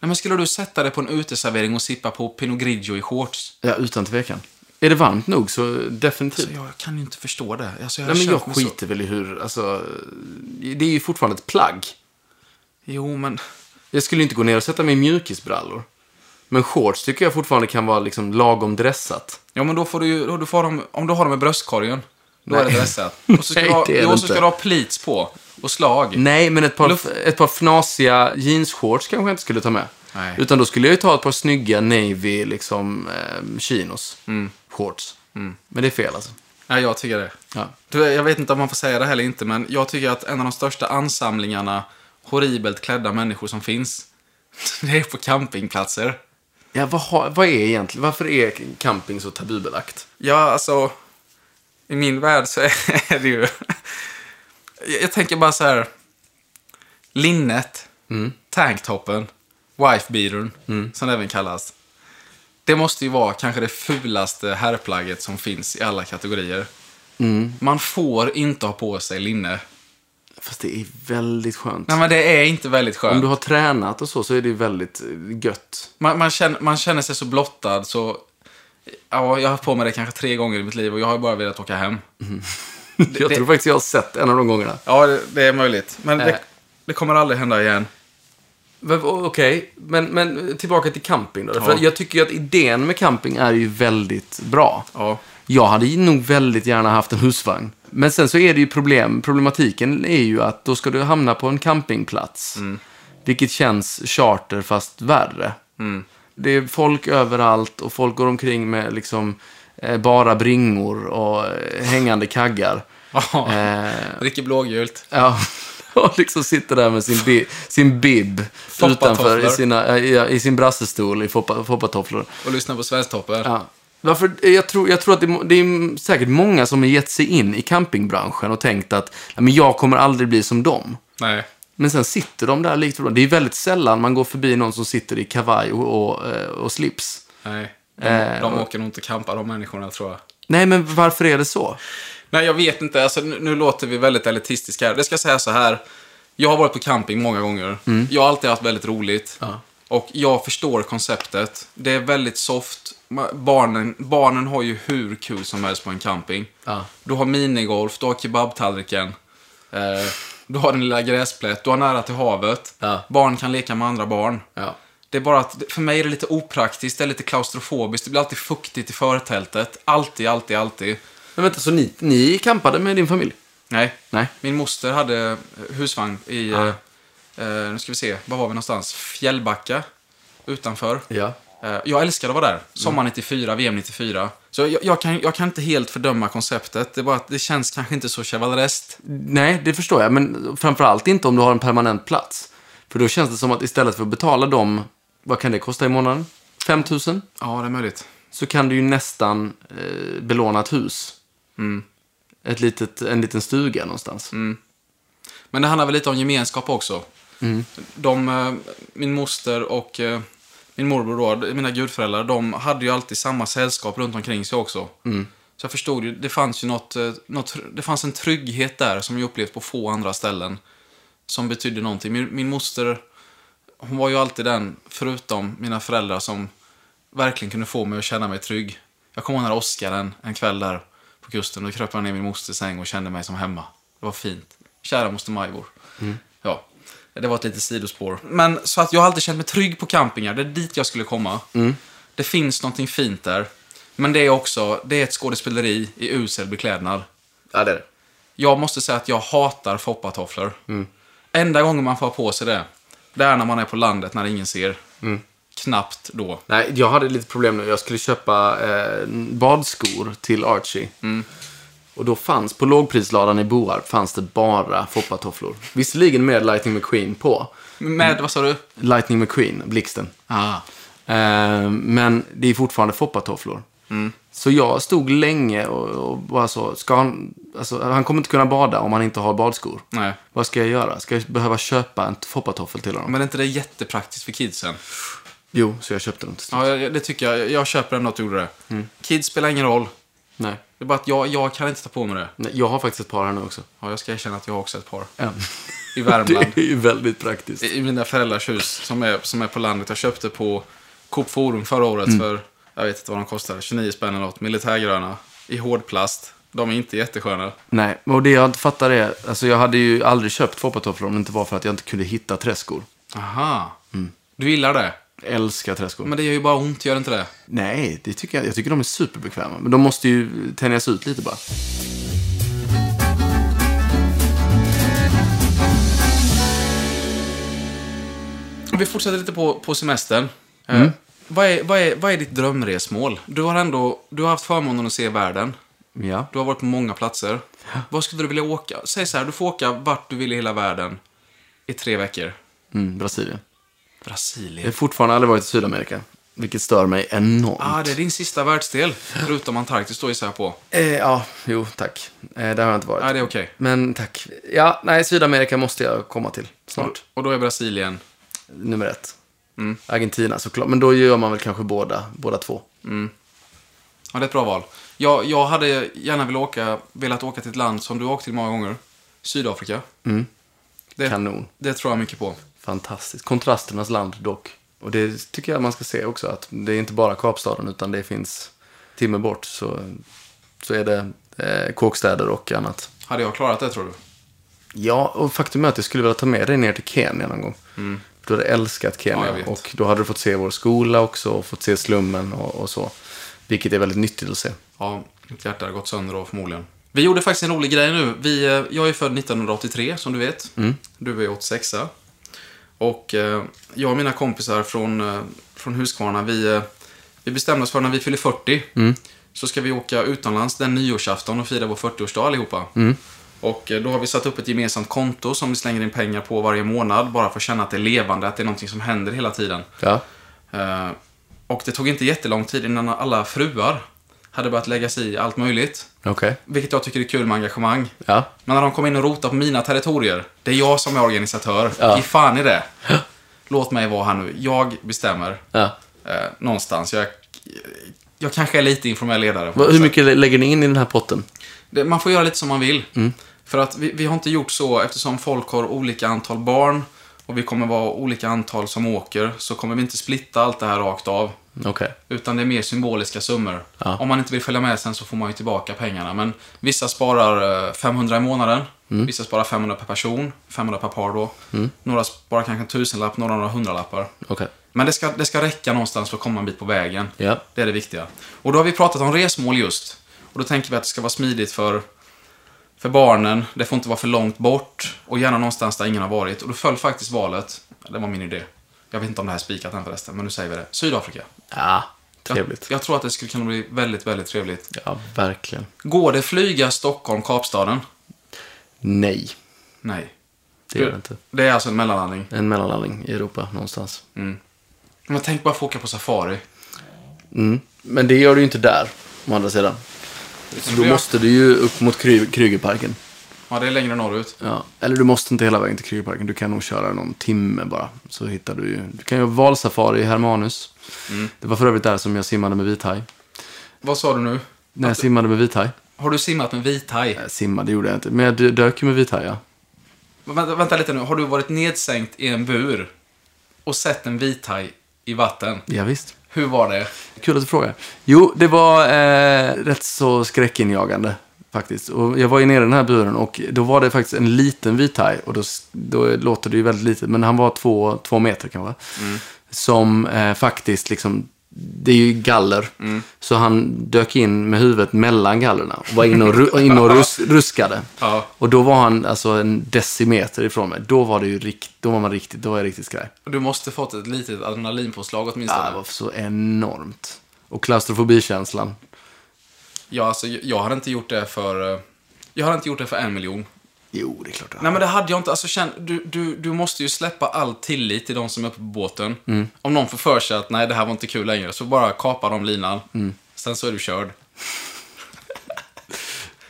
[SPEAKER 1] men skulle du sätta dig på en uteservering och sippa på Pinot Grigio i shorts?
[SPEAKER 2] Ja, utan tvekan. Är det varmt nog så definitivt.
[SPEAKER 1] Alltså, jag, jag kan ju inte förstå det. Alltså, jag har
[SPEAKER 2] Nej, men
[SPEAKER 1] känt
[SPEAKER 2] jag
[SPEAKER 1] mig så-
[SPEAKER 2] skiter väl i hur, alltså, det är ju fortfarande ett plagg.
[SPEAKER 1] Jo, men...
[SPEAKER 2] Jag skulle inte gå ner och sätta mig i mjukisbrallor. Men shorts tycker jag fortfarande kan vara liksom lagom dressat.
[SPEAKER 1] Ja, men då får du ju... Då, du får dem, om du har dem i bröstkorgen, då är det dressat. Och så ska,
[SPEAKER 2] Nej,
[SPEAKER 1] du, ha,
[SPEAKER 2] det är det
[SPEAKER 1] jo, så ska
[SPEAKER 2] inte.
[SPEAKER 1] du ha pleats på. Och slag.
[SPEAKER 2] Nej, men ett par,
[SPEAKER 1] Luff-
[SPEAKER 2] ett par fnasiga jeansshorts kanske jag inte skulle ta med.
[SPEAKER 1] Nej.
[SPEAKER 2] Utan då skulle jag ju ta ett par snygga navy, liksom, eh, chinos. Shorts. Men det är fel alltså.
[SPEAKER 1] Nej, jag tycker det.
[SPEAKER 2] Ja.
[SPEAKER 1] Du, jag vet inte om man får säga det här eller inte, men jag tycker att en av de största ansamlingarna horribelt klädda människor som finns, det är på campingplatser.
[SPEAKER 2] Ja, vad, har, vad är egentligen, varför är camping så tabubelagt?
[SPEAKER 1] Ja, alltså, i min värld så är det ju... Jag, jag tänker bara så här, linnet,
[SPEAKER 2] Mm.
[SPEAKER 1] tanktoppen, wifebeatern, som det även kallas. Det måste ju vara kanske det fulaste herrplagget som finns i alla kategorier.
[SPEAKER 2] Mm.
[SPEAKER 1] Man får inte ha på sig linne.
[SPEAKER 2] Fast det är väldigt skönt.
[SPEAKER 1] Nej, men det är inte väldigt
[SPEAKER 2] Om
[SPEAKER 1] skönt.
[SPEAKER 2] du har tränat och så, så är det ju väldigt eh, gött.
[SPEAKER 1] Man, man, känner, man känner sig så blottad så... Ja, jag har haft på mig det kanske tre gånger i mitt liv och jag har bara velat åka hem.
[SPEAKER 2] jag tror faktiskt jag har sett en av de gångerna.
[SPEAKER 1] Ja, det, det är möjligt. Men
[SPEAKER 2] Eh.
[SPEAKER 1] det, det kommer aldrig hända igen.
[SPEAKER 2] V- Okej, men, men tillbaka till camping då. För
[SPEAKER 1] Ja.
[SPEAKER 2] jag tycker ju att idén med camping är ju väldigt bra.
[SPEAKER 1] Ja.
[SPEAKER 2] Jag hade ju nog väldigt gärna haft en husvagn. Men sen så är det ju problem. Problematiken är ju att då ska du hamna på en campingplats.
[SPEAKER 1] Mm.
[SPEAKER 2] Vilket känns charter fast värre.
[SPEAKER 1] Mm.
[SPEAKER 2] Det är folk överallt och folk går omkring med liksom eh, bara bringor och eh, hängande kaggar.
[SPEAKER 1] Ja.
[SPEAKER 2] Eh,
[SPEAKER 1] Dricker blågult.
[SPEAKER 2] Ja, och liksom sitter där med sin, bi, sin bib utanför
[SPEAKER 1] Foppatofflor.
[SPEAKER 2] i, sina, i, i sin brassestol i foppa- foppatofflor.
[SPEAKER 1] Och lyssnar på Svensktoppen.
[SPEAKER 2] Ja. Varför, jag, tror, jag tror att det, är må- det är säkert många som har gett sig in i campingbranschen och tänkt att "Ja, men jag kommer aldrig bli som dem.
[SPEAKER 1] Nej.
[SPEAKER 2] Men sen sitter de där likt förbannat. Det är väldigt sällan man går förbi någon som sitter i kavaj och, och, eh, och slips.
[SPEAKER 1] Nej. De,
[SPEAKER 2] Eh,
[SPEAKER 1] de åker nog inte kampa de människorna, tror jag.
[SPEAKER 2] Nej, men varför är det så?
[SPEAKER 1] Nej, jag vet inte. Alltså, nu, nu låter vi väldigt elitistiska här. Det ska säga så här. Jag har varit på camping många gånger. Jag har alltid haft väldigt roligt.
[SPEAKER 2] Mm. Ja.
[SPEAKER 1] Och jag förstår konceptet. Det är väldigt soft. Ma- Barnen, barnen har ju hur kul som helst på en camping.
[SPEAKER 2] Ja.
[SPEAKER 1] Du har minigolf, du har kebabtallriken. Eh, du har din lilla gräsplätt, du har nära till havet.
[SPEAKER 2] Ja.
[SPEAKER 1] Barn kan leka med andra barn.
[SPEAKER 2] Ja.
[SPEAKER 1] Det är bara att, för mig är det lite opraktiskt, det är lite klaustrofobiskt. Det blir alltid fuktigt i förtältet. Alltid, alltid, alltid.
[SPEAKER 2] Men vänta, så ni, ni campade med din familj?
[SPEAKER 1] Nej.
[SPEAKER 2] Nej.
[SPEAKER 1] Min moster hade husvagn i,
[SPEAKER 2] Ja.
[SPEAKER 1] eh, eh, nu ska vi se, var var vi någonstans? Fjällbacka, utanför.
[SPEAKER 2] Ja. Mm.
[SPEAKER 1] Eh, jag älskade att vara där, sommar 94, VM 94. Så jag, jag, kan, jag kan inte helt fördöma konceptet, det är bara att det känns kanske inte så chevalereskt.
[SPEAKER 2] Nej, det förstår jag. Men framförallt inte om du har en permanent plats. För då känns det som att istället för att betala dem, vad kan det kosta i månaden? 5 000?
[SPEAKER 1] Ja, det är möjligt.
[SPEAKER 2] Så kan du ju nästan eh, belåna ett hus. Mm. Ett litet, en liten stuga någonstans.
[SPEAKER 1] Men det handlar väl lite om gemenskap också. De, eh, min moster och eh, min morbror då, mina gudföräldrar, de hade ju alltid samma sällskap runt omkring sig också. Så jag förstod ju, det fanns ju något, eh, något, det fanns en trygghet där som jag upplevt på få andra ställen. Som betydde någonting. Min, min moster, hon var ju alltid den, förutom mina föräldrar, som verkligen kunde få mig att känna mig trygg. Jag kommer ihåg när Oskar en, en kväll där på kusten, då kröp jag ner i min mosters säng och kände mig som hemma. Det var fint. Kära moster Majvor. Ja, det var ett litet sidospår. Men så att jag har alltid känt mig trygg på campingar, det är dit jag skulle komma. Det finns någonting fint där. Men det är också, det är ett skådespeleri i usel beklädnad.
[SPEAKER 2] Ja, det är det.
[SPEAKER 1] Jag måste säga att jag hatar foppatofflor. Enda gången man får ha på sig det, Det är när man är på landet, när ingen ser. Knappt då.
[SPEAKER 2] Nej, jag hade lite problem nu. Jag skulle köpa eh, badskor till Archie. Och då fanns, på lågprisladan i Boarp, fanns det bara foppatofflor. Visserligen med Lightning McQueen på.
[SPEAKER 1] Med, vad sa du?
[SPEAKER 2] Lightning McQueen, blixten.
[SPEAKER 1] Ah.
[SPEAKER 2] Eh, men det är fortfarande foppatofflor. Så jag stod länge och, och bara så, ska han, alltså, han kommer inte kunna bada om han inte har badskor.
[SPEAKER 1] Nej.
[SPEAKER 2] Vad ska jag göra? Ska jag behöva köpa en foppatoffel till honom?
[SPEAKER 1] Men är inte det jättepraktiskt för kidsen?
[SPEAKER 2] Jo, så jag köpte den till slut.
[SPEAKER 1] Ja, jag- det tycker jag. Jag köper ändå att du gjorde det. Kids spelar ingen roll.
[SPEAKER 2] Nej.
[SPEAKER 1] Det är bara att jag, jag kan inte ta på mig det.
[SPEAKER 2] Nej, jag har faktiskt ett par här nu också.
[SPEAKER 1] Ja, jag ska erkänna att jag har också ett par.
[SPEAKER 2] En.
[SPEAKER 1] I Värmland.
[SPEAKER 2] Det är ju väldigt praktiskt.
[SPEAKER 1] I mina föräldrars hus som är, som är på landet. Jag köpte på Coop Forum förra året för, jag vet inte vad de kostade, 29 spänn eller något. Militärgröna. I hårdplast. De är inte jättesköna.
[SPEAKER 2] Nej, och det jag inte fattar är, alltså jag hade ju aldrig köpt foppatofflor om det inte var för att jag inte kunde hitta träskor.
[SPEAKER 1] Aha. Du gillar det?
[SPEAKER 2] Älskar träskor.
[SPEAKER 1] Men det gör ju bara ont, gör det inte det?
[SPEAKER 2] Nej, det tycker jag, jag tycker de är superbekväma. Men de måste ju tänjas ut lite bara.
[SPEAKER 1] Om Vi fortsätter lite på, på semestern. Eh, vad, är, vad, är, vad är ditt drömresmål? Du har ändå du har haft förmånen att se världen.
[SPEAKER 2] Ja.
[SPEAKER 1] Du har varit på många platser. Vad skulle du vilja åka? Säg så här, du får åka vart du vill i hela världen i tre veckor.
[SPEAKER 2] Mm, Brasilien. Jag har
[SPEAKER 1] Brasilien.
[SPEAKER 2] fortfarande aldrig varit i Sydamerika. Vilket stör mig enormt.
[SPEAKER 1] Ah, det är din sista världsdel. Förutom Antarktis, då gissar jag på.
[SPEAKER 2] eh, ja jo tack. Eh, där har jag inte varit.
[SPEAKER 1] Ja, Ah, det är okej.
[SPEAKER 2] Men tack. Ja, nej, Sydamerika måste jag komma till
[SPEAKER 1] Och,
[SPEAKER 2] snart.
[SPEAKER 1] och då är Brasilien. Mm.
[SPEAKER 2] Nummer ett. Argentina såklart. Men då gör man väl kanske båda, båda två.
[SPEAKER 1] Ja, det är ett bra val. Jag, jag hade gärna velat åka, velat åka till ett land som du har åkt till många gånger. Sydafrika. Det,
[SPEAKER 2] Kanon.
[SPEAKER 1] det tror jag mycket på.
[SPEAKER 2] Fantastiskt. Kontrasternas land dock. Och det tycker jag man ska se också, att det är inte bara Kapstaden utan det finns timme bort så, så är det eh, kåkstäder och annat.
[SPEAKER 1] Hade jag klarat det, tror du?
[SPEAKER 2] Ja, och faktum är att jag skulle vilja ta med dig ner till Kenya någon gång. Du hade älskat
[SPEAKER 1] Mm. Ja,
[SPEAKER 2] Kenya
[SPEAKER 1] jag vet.
[SPEAKER 2] och då hade du fått se vår skola också och fått se slummen och, och så. Vilket är väldigt nyttigt att se.
[SPEAKER 1] Ja, mitt hjärta har gått sönder då förmodligen. Vi gjorde faktiskt en rolig grej nu. Vi, eh, jag är född 1983 som du vet. Du är 86 Och eh, jag och mina kompisar från, eh, från Huskvarna, vi, eh, vi bestämde oss för när vi fyller 40 så ska vi åka utomlands den nyårsafton och fira vår 40-årsdag allihopa. Och eh, då har vi satt upp ett gemensamt konto som vi slänger in pengar på varje månad bara för att känna att det är levande, att det är någonting som händer hela tiden.
[SPEAKER 2] Ja,
[SPEAKER 1] Eh, Och det tog inte jättelång tid innan alla fruar hade börjat lägga sig i allt möjligt.
[SPEAKER 2] okej.
[SPEAKER 1] Vilket jag tycker är kul med engagemang.
[SPEAKER 2] Ja.
[SPEAKER 1] Men när de kom in och rotade på mina territorier, det är jag som är organisatör.
[SPEAKER 2] Ja.
[SPEAKER 1] Ge fan i det. Låt mig vara här nu. Jag bestämmer.
[SPEAKER 2] ja.
[SPEAKER 1] Eh, någonstans. Jag, jag kanske är lite informell ledare.
[SPEAKER 2] Va- Hur mycket lä- lägger ni in i den här potten?
[SPEAKER 1] Det, man får göra lite som man vill.
[SPEAKER 2] Mm.
[SPEAKER 1] För att vi, vi har inte gjort så eftersom folk har olika antal barn och vi kommer vara olika antal som åker så kommer vi inte splitta allt det här rakt av.
[SPEAKER 2] Okej.
[SPEAKER 1] Utan det är mer symboliska summor.
[SPEAKER 2] Ja.
[SPEAKER 1] Om man inte vill följa med sen så får man ju tillbaka pengarna. Men vissa sparar eh, 500 i månaden.
[SPEAKER 2] Mm.
[SPEAKER 1] Vissa sparar 500 per person. 500 per par då. Några sparar kanske en tusenlapp, några några hundralappar.
[SPEAKER 2] Okej.
[SPEAKER 1] Men det ska, det ska räcka någonstans för att komma en bit på vägen.
[SPEAKER 2] Ja.
[SPEAKER 1] Det är det viktiga. Och då har vi pratat om resmål just. Och då tänker vi att det ska vara smidigt för, för barnen. Det får inte vara för långt bort. Och gärna någonstans där ingen har varit. Och då föll faktiskt valet. Det var min idé. Jag vet inte om det här är spikat än förresten, men nu säger vi det. Sydafrika.
[SPEAKER 2] Ja,
[SPEAKER 1] Jag-
[SPEAKER 2] trevligt.
[SPEAKER 1] Jag tror att det skulle kunna bli väldigt, väldigt trevligt.
[SPEAKER 2] Ja, verkligen.
[SPEAKER 1] Går det flyga Stockholm, Kapstaden?
[SPEAKER 2] Nej,
[SPEAKER 1] Nej.
[SPEAKER 2] det gör det inte.
[SPEAKER 1] Det är alltså en mellanlandning. Mm.
[SPEAKER 2] En mellanlandning i Europa någonstans.
[SPEAKER 1] Men tänk bara få åka på safari.
[SPEAKER 2] Mm. Men det gör du ju inte där, å andra sidan. Så då
[SPEAKER 1] Ja.
[SPEAKER 2] måste du ju upp mot Kry- Krügerparken.
[SPEAKER 1] Ja, det är längre norrut.
[SPEAKER 2] Ja. Eller du måste inte hela vägen till Krügerparken. Du kan nog köra någon timme bara. Så hittar du ju. Du kan ju ha valsafari i Hermanus. Det var för övrigt där som jag simmade med vithaj.
[SPEAKER 1] Vad sa du nu?
[SPEAKER 2] När jag simmade med vithaj.
[SPEAKER 1] Har du simmat med vithaj?
[SPEAKER 2] Äh, simmade gjorde jag inte, men jag d- dök ju med vithaj, ja.
[SPEAKER 1] Vänta, vänta lite nu. Har du varit nedsänkt i en bur och sett en vithaj i vatten?
[SPEAKER 2] ja visst.
[SPEAKER 1] Hur var det?
[SPEAKER 2] Kul att du frågar. Jo, det var eh, rätt så skräckinjagande faktiskt. Och jag var ju nere i den här buren och då var det faktiskt en liten vithaj. Och då, s- då låter det ju väldigt litet, men han var två, två meter kanske. Som eh, faktiskt liksom det är ju galler. Så han dök in med huvudet mellan gallerna och var inne och, ru- och, inne och rus- ruskade.
[SPEAKER 1] Ja.
[SPEAKER 2] Och då var han alltså en decimeter ifrån mig. Då var det ju rikt, då var man riktigt, då var jag riktigt skraj.
[SPEAKER 1] Du måste fått ett litet adrenalinpåslag åtminstone.
[SPEAKER 2] Ja, det var så enormt. Och klaustrofobikänslan.
[SPEAKER 1] Ja, alltså, jag hade inte gjort det för... eh, Jag hade inte gjort det för en miljon.
[SPEAKER 2] Jo, det är klart.
[SPEAKER 1] Nej, men det hade jag inte. Alltså, känn, du, du, du måste ju släppa all tillit till de som är uppe på båten.
[SPEAKER 2] Mm.
[SPEAKER 1] Om någon får för sig att nej, det här var inte kul längre, så bara kapa de linan.
[SPEAKER 2] Mm.
[SPEAKER 1] Sen så är du körd.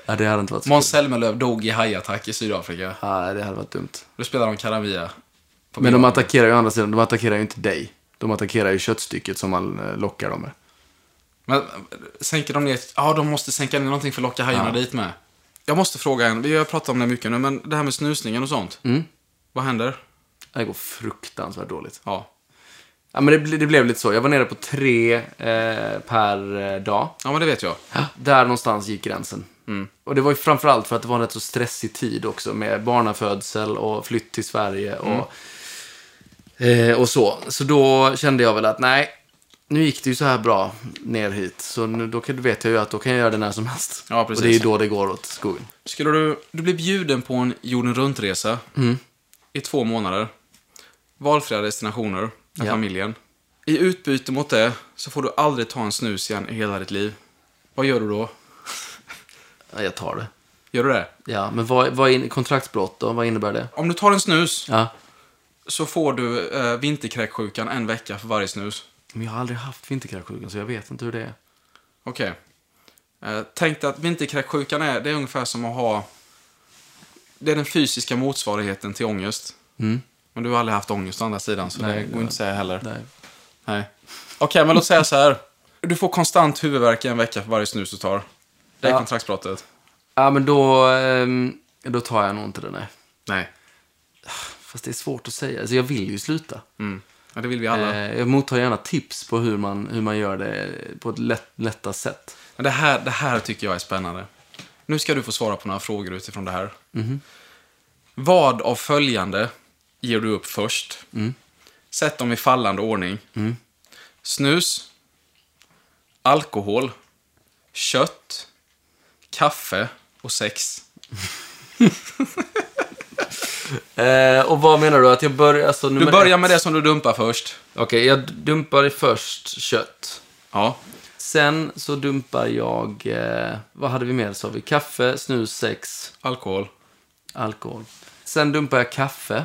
[SPEAKER 2] Ja, det hade inte varit så
[SPEAKER 1] Måns Zelmerlöw dog i hajattack i Sydafrika.
[SPEAKER 2] Nej, det hade varit dumt.
[SPEAKER 1] Då spelar de Karamia. på
[SPEAKER 2] Men de
[SPEAKER 1] middagen.
[SPEAKER 2] attackerar ju å andra sidan, de attackerar ju inte dig. De attackerar ju köttstycket som man eh, lockar dem med.
[SPEAKER 1] Men eh, sänker de ner... Ja, de måste sänka ner någonting för att locka hajarna dit med. Jag måste fråga en. Vi har pratat om det mycket nu, men det här med snusningen och sånt.
[SPEAKER 2] Mm.
[SPEAKER 1] Vad händer?
[SPEAKER 2] Det går fruktansvärt dåligt.
[SPEAKER 1] Ja.
[SPEAKER 2] Ja, men det, ble- det blev lite så. Jag var nere på tre eh, per eh, dag.
[SPEAKER 1] Ja, men det vet jag.
[SPEAKER 2] Där någonstans gick gränsen. Mm. Och det var ju framförallt för att det var en rätt så stressig tid också med barnafödsel och flytt till Sverige och,
[SPEAKER 1] Mm.
[SPEAKER 2] eh, och så. Så då kände jag väl att nej, nu gick det ju så här bra ner hit. Så nu, då kan, vet jag ju att då kan jag göra det när som helst.
[SPEAKER 1] Ja, precis.
[SPEAKER 2] Och det är ju då det går åt skogen.
[SPEAKER 1] Skulle du, du blir bjuden på en jorden runt-resa
[SPEAKER 2] Mm.
[SPEAKER 1] i två månader. Valfria destinationer med
[SPEAKER 2] Ja.
[SPEAKER 1] familjen. I utbyte mot det så får du aldrig ta en snus igen i hela ditt liv. Vad gör du då?
[SPEAKER 2] Ja, jag tar det.
[SPEAKER 1] Gör du det?
[SPEAKER 2] Ja, men vad, vad är kontraktsbrott då? Vad innebär det?
[SPEAKER 1] Om du tar en snus
[SPEAKER 2] Ja.
[SPEAKER 1] så får du eh, vinterkräksjukan en vecka för varje snus.
[SPEAKER 2] Men jag har aldrig haft vinterkräksjukan så jag vet inte hur det är.
[SPEAKER 1] Okej. Eh, tänk dig att vinterkräksjukan är, det är ungefär som att ha... Det är den fysiska motsvarigheten till ångest. Men du har aldrig haft ångest å andra sidan, så
[SPEAKER 2] Mm. Nej,
[SPEAKER 1] det
[SPEAKER 2] det
[SPEAKER 1] går
[SPEAKER 2] har-
[SPEAKER 1] inte att säga heller.
[SPEAKER 2] Nej.
[SPEAKER 1] Nej. Okej, men låt säga så här. Du får konstant huvudvärk i en vecka för varje snus du tar. Det är
[SPEAKER 2] Ja.
[SPEAKER 1] kontraktsbrottet.
[SPEAKER 2] Ja, men då, ehm, då tar jag nog inte det, nej.
[SPEAKER 1] Nej.
[SPEAKER 2] Fast det är svårt att säga. Alltså, jag vill ju sluta.
[SPEAKER 1] Mm. Ja, det vill vi alla.
[SPEAKER 2] Eh, jag mottar gärna tips på hur man, hur man gör det på ett lätt, lätta sätt.
[SPEAKER 1] Men det här, det här tycker jag är spännande. Nu ska du få svara på några frågor utifrån det här. Vad av följande ger du upp först? Sätt dem i fallande ordning. Snus. Alkohol. Kött. Kaffe. Och sex.
[SPEAKER 2] Eh, och vad menar du? Att jag börjar... Alltså,
[SPEAKER 1] Du börjar med det som du dumpar först.
[SPEAKER 2] Okej, jag dumpar först kött.
[SPEAKER 1] Ja.
[SPEAKER 2] Sen så dumpar jag... Eh, vad hade vi mer? Sa vi kaffe, snus, sex,
[SPEAKER 1] Alkohol.
[SPEAKER 2] alkohol. Sen dumpar jag kaffe.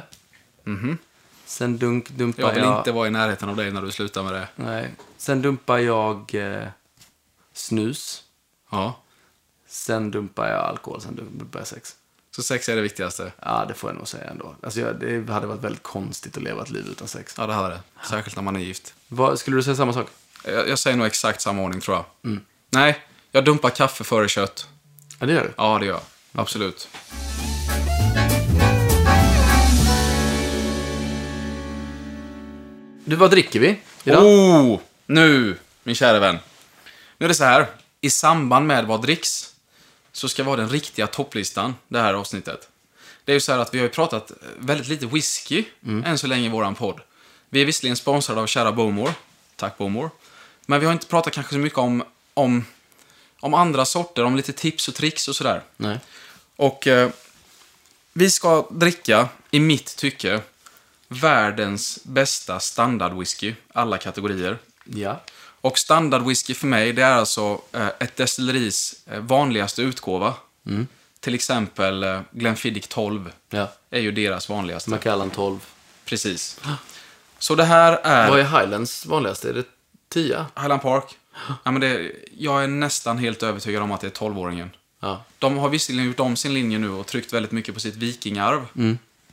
[SPEAKER 2] Sen dunk, dumpar
[SPEAKER 1] Mhm. Jag
[SPEAKER 2] jag...
[SPEAKER 1] vill inte vara i närheten av dig när du slutar med det.
[SPEAKER 2] Nej. Sen dumpar jag eh, snus.
[SPEAKER 1] Ja.
[SPEAKER 2] Sen dumpar jag alkohol, sen dumpar jag sex.
[SPEAKER 1] Så sex är det viktigaste.
[SPEAKER 2] Ja, det får jag nog säga ändå. Alltså, jag, det hade varit väldigt konstigt att leva ett liv utan sex.
[SPEAKER 1] Ja, det hade det. Särskilt när man är gift.
[SPEAKER 2] Vad, skulle du säga samma sak?
[SPEAKER 1] Jag, jag säger nog exakt samma ordning, tror jag. Nej, jag dumpar kaffe före kött.
[SPEAKER 2] Ja, det gör du.
[SPEAKER 1] Ja, det gör jag. Absolut.
[SPEAKER 2] Du, vad dricker vi idag?
[SPEAKER 1] Oh! Nu, min kära vän. Nu är det så här. I samband med vad dricks så ska vara den riktiga topplistan det här avsnittet. Det är ju så här att vi har ju pratat väldigt lite whisky än så länge i våran podd. Vi är visserligen sponsrade av kära Bowmore. Tack Bowmore. Men vi har inte pratat kanske så mycket om, om, om andra sorter, om lite tips och tricks och sådär.
[SPEAKER 2] Nej.
[SPEAKER 1] Och eh, vi ska dricka, i mitt tycke, världens bästa standardwhisky, alla kategorier.
[SPEAKER 2] Ja.
[SPEAKER 1] Och standardwhisky för mig, det är alltså eh, ett destilleris eh, vanligaste utgåva. Till exempel eh, Glenfiddich 12
[SPEAKER 2] Ja.
[SPEAKER 1] är ju deras vanligaste.
[SPEAKER 2] Macallan 12.
[SPEAKER 1] Precis. Så det här är...
[SPEAKER 2] Vad är Highlands vanligaste? Är det 10?
[SPEAKER 1] Highland Park. Ja, men det, jag är nästan helt övertygad om att det är 12-åringen.
[SPEAKER 2] Ja.
[SPEAKER 1] De har visserligen gjort om sin linje nu och tryckt väldigt mycket på sitt vikingarv.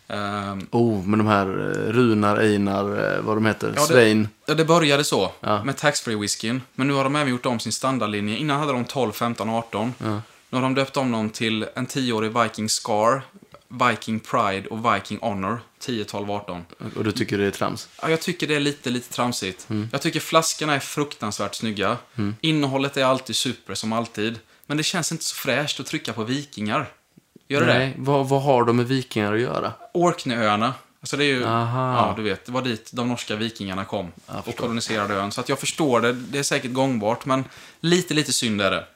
[SPEAKER 1] Ehm,
[SPEAKER 2] Oh, men de här eh, Runar, Einar, eh, vad de heter,
[SPEAKER 1] Ja, det-
[SPEAKER 2] Svein.
[SPEAKER 1] Ja, det började så.
[SPEAKER 2] Ja.
[SPEAKER 1] Med taxfree whiskyn. Men nu har de även gjort om sin standardlinje. Innan hade de 12, 15, 18. Nu har de döpt om dem till en 10-årig Viking Scar, Viking Pride och Viking Honor. 10, 12, 18.
[SPEAKER 2] Och du tycker det är trams?
[SPEAKER 1] Ja, jag tycker det är lite, lite tramsigt.
[SPEAKER 2] Mm.
[SPEAKER 1] Jag tycker flaskorna är fruktansvärt snygga. Innehållet är alltid super, som alltid. Men det känns inte så fräscht att trycka på vikingar. Gör det det?
[SPEAKER 2] Nej. Vad, vad har de med vikingar att göra?
[SPEAKER 1] Orkneyöarna. Alltså det är ju,
[SPEAKER 2] Aha.
[SPEAKER 1] ja du vet, det var dit de norska vikingarna kom och koloniserade ön. Så att jag förstår det, det är säkert gångbart, men lite, lite synd är det.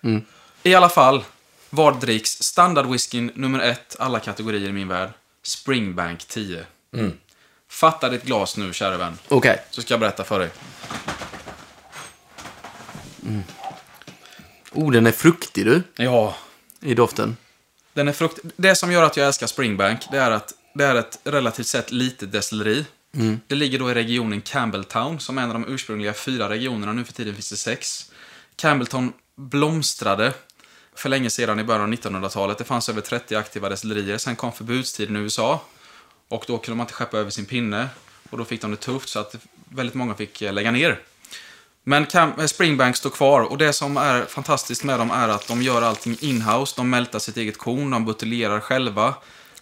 [SPEAKER 1] I alla fall, vad dricks standardwhiskyn nummer ett, alla kategorier i min värld, Springbank 10. Fatta ditt glas nu, kära vän,
[SPEAKER 2] Okej.
[SPEAKER 1] så ska jag berätta för dig.
[SPEAKER 2] Oh, den är fruktig du,
[SPEAKER 1] Ja,
[SPEAKER 2] i doften.
[SPEAKER 1] Den är frukt... Det som gör att jag älskar Springbank, det är att det är ett relativt sett litet destilleri. Det ligger då i regionen Campbelltown, som är en av de ursprungliga fyra regionerna. Nu för tiden finns det sex. Campbelltown blomstrade för länge sedan i början av 1900-talet. Det fanns över 30 aktiva destillerier. Sen kom förbudstiden i USA. Och då kunde man inte skeppa över sin pinne. Och då fick de det tufft, så att väldigt många fick eh, lägga ner. Men Cam- eh, Springbank står kvar och det som är fantastiskt med dem är att de gör allting in-house. De mältar sitt eget korn, de buteljerar själva.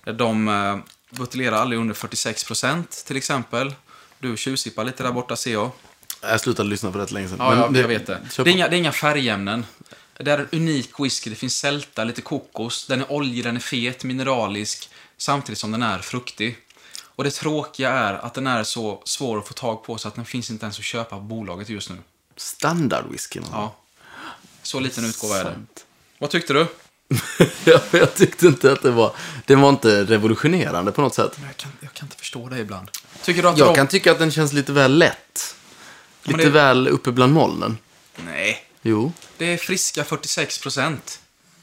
[SPEAKER 1] De eh, buteljerar aldrig under 46% till exempel. Du tjuvsippar lite där borta ser jag.
[SPEAKER 2] Jag slutade lyssna på det länge sedan.
[SPEAKER 1] Ja,
[SPEAKER 2] Men
[SPEAKER 1] jag, jag vet det. Det
[SPEAKER 2] kör
[SPEAKER 1] är,
[SPEAKER 2] på.
[SPEAKER 1] inga, det är inga färgämnen. Det är en unik whisky. Det finns sälta, lite kokos. Den är oljig, den är fet, mineralisk. Samtidigt som den är fruktig. Och det tråkiga är att den är så svår att få tag på så att den finns inte ens att köpa på bolaget just nu.
[SPEAKER 2] Standardwhiskyn.
[SPEAKER 1] Ja. Så liten utgåva är det.
[SPEAKER 2] Sant.
[SPEAKER 1] Vad tyckte du?
[SPEAKER 2] Ja, men jag tyckte inte att det var... Den var inte revolutionerande på något sätt.
[SPEAKER 1] Jag kan, inte förstå det ibland. Tycker du att
[SPEAKER 2] Jag
[SPEAKER 1] de...
[SPEAKER 2] kan tycka att den känns lite väl lätt.
[SPEAKER 1] men
[SPEAKER 2] Lite
[SPEAKER 1] det-
[SPEAKER 2] väl uppe bland molnen.
[SPEAKER 1] Nej.
[SPEAKER 2] Jo.
[SPEAKER 1] Det är friska 46%.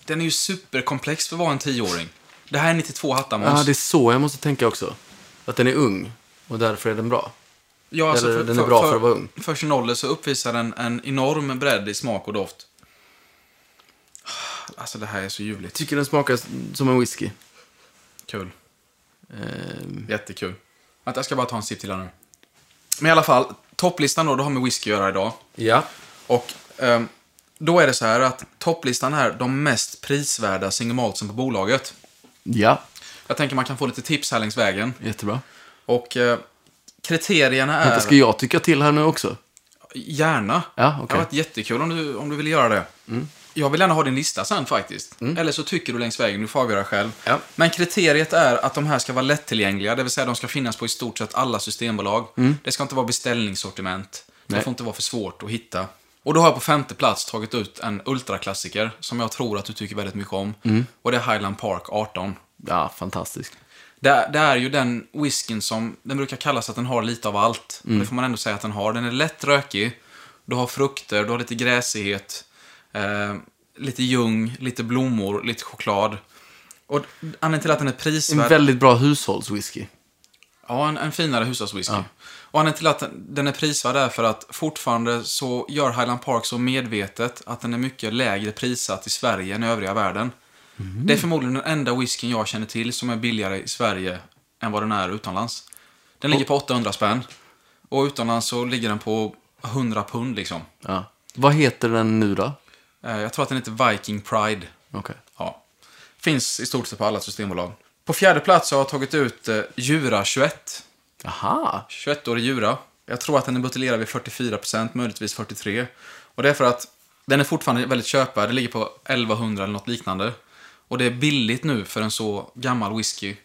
[SPEAKER 1] Den är ju superkomplex för att vara en 10-åring. Det här är 92 hattar, Måns.
[SPEAKER 2] Ja, det är så jag måste tänka också. Att den är ung och därför är den bra.
[SPEAKER 1] Ja,
[SPEAKER 2] Eller den är bra för att vara ung.
[SPEAKER 1] alltså För sin ålder så uppvisar den en enorm bredd i smak och doft. Alltså det här är så ljuvligt.
[SPEAKER 2] Tycker den smakar s- som en whisky.
[SPEAKER 1] Kul.
[SPEAKER 2] Ehm,
[SPEAKER 1] Jättekul. Vänta, jag ska bara ta en sipp till här nu. Men i alla fall, topplistan då, det har med whisky att göra idag.
[SPEAKER 2] ja.
[SPEAKER 1] Och ehm, då är det så här att topplistan är de mest prisvärda single maltsen på bolaget.
[SPEAKER 2] Ja.
[SPEAKER 1] Jag tänker man kan få lite tips här längs vägen.
[SPEAKER 2] Jättebra.
[SPEAKER 1] Och eh, kriterierna är...
[SPEAKER 2] Vänta, ska jag tycka till här nu också?
[SPEAKER 1] Gärna.
[SPEAKER 2] Ja,
[SPEAKER 1] Det
[SPEAKER 2] okej. Mm.
[SPEAKER 1] hade varit jättekul om du, om du ville göra det. Jag vill gärna ha din lista sen faktiskt. Eller så tycker du längs vägen, du får avgöra själv.
[SPEAKER 2] Ja.
[SPEAKER 1] Men kriteriet är att de här ska vara lättillgängliga, det vill säga de ska finnas på i stort sett alla systembolag. Det ska inte vara beställningssortiment. Det
[SPEAKER 2] Mm. Nej.
[SPEAKER 1] får inte vara för svårt att hitta. Och då har jag på femte plats tagit ut en ultraklassiker som jag tror att du tycker väldigt mycket om.
[SPEAKER 2] Mm.
[SPEAKER 1] Och det är Highland Park 18.
[SPEAKER 2] Ja, fantastisk.
[SPEAKER 1] Det, det är ju den whiskyn som, den brukar kallas att den har lite av allt. Det får man ändå säga att den har. Den är lätt rökig, du har frukter, du har lite gräsighet, eh, lite ljung, lite blommor, lite choklad. Och anledningen till att den är
[SPEAKER 2] En
[SPEAKER 1] prisvärd...
[SPEAKER 2] väldigt bra hushållswhisky.
[SPEAKER 1] Ja, en, en finare hushållswhisky. Och anledningen till att den- den är prisvärd är för att fortfarande så gör Highland Park så medvetet att den är mycket lägre prissatt i Sverige än i övriga världen. Det är förmodligen den enda whiskyn jag känner till som är billigare i Sverige än vad den är utomlands. Den ligger på 800 spänn. Och utomlands så ligger den på 100 pund liksom.
[SPEAKER 2] Ja. Vad heter den nu då?
[SPEAKER 1] Eh, Jag tror att den heter Viking Pride.
[SPEAKER 2] Okej.
[SPEAKER 1] Ja. Finns i stort sett på alla systembolag. På fjärde plats har jag tagit ut eh, Jura 21.
[SPEAKER 2] Aha.
[SPEAKER 1] 21-årig Jura. Jag tror att den är buteljerad vid 44%, möjligtvis 43%. Och det är för att den är fortfarande väldigt köpvärd. Det ligger på 1100 eller något liknande. Och det är billigt nu för en så gammal whisky.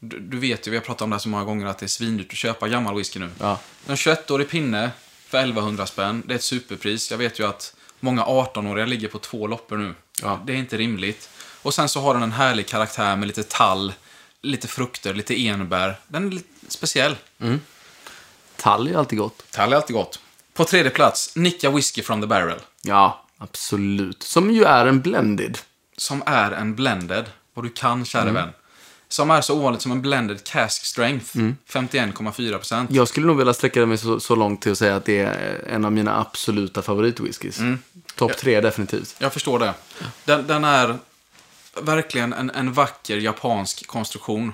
[SPEAKER 1] Du, du vet ju, vi har pratat om det här så många gånger, att det är svindyrt att köpa gammal whisky nu.
[SPEAKER 2] Ja.
[SPEAKER 1] En 21-årig pinne för 1100 spänn, det är ett superpris. Jag vet ju att många 18-åriga ligger på två loppor nu.
[SPEAKER 2] Ja.
[SPEAKER 1] Det är inte rimligt. Och sen så har den en härlig karaktär med lite tall, lite frukter, lite enbär. Den är lite speciell.
[SPEAKER 2] Tall är alltid gott.
[SPEAKER 1] Tall är alltid gott. På tredje plats, Nicka Whiskey from the Barrel.
[SPEAKER 2] Ja, absolut. Som ju är en blended.
[SPEAKER 1] Som är en blended, vad du kan kära vän. Som är så ovanligt som en blended cask strength. 51,4%.
[SPEAKER 2] Jag skulle nog vilja sträcka mig så, så långt till att säga att det är en av mina absoluta favoritwhiskys. Topp tre definitivt.
[SPEAKER 1] Jag förstår det. Den, den är verkligen en, en vacker japansk konstruktion.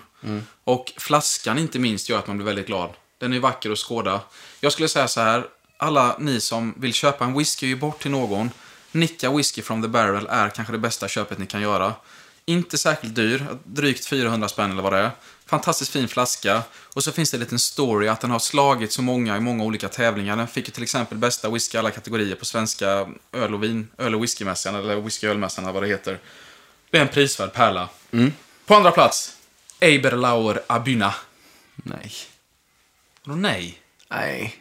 [SPEAKER 1] Och flaskan inte minst gör att man blir väldigt glad. Den är vacker att skåda. Jag skulle säga så här, alla ni som vill köpa en whisky och ge bort till någon, Nicka Whisky from the Barrel är kanske det bästa köpet ni kan göra. Inte särskilt dyr, drygt 400 spänn eller vad det är. Fantastiskt fin flaska. Och så finns det en liten story att den har slagit så många i många olika tävlingar. Den fick ju till exempel bästa whisky i alla kategorier på svenska öl och vin, öl och whiskymässan, eller whisky och ölmässan eller vad det heter. Det är en prisvärd pärla. På andra plats, Eiberlauer Abuna.
[SPEAKER 2] Nej.
[SPEAKER 1] Vadå nej?
[SPEAKER 2] Nej.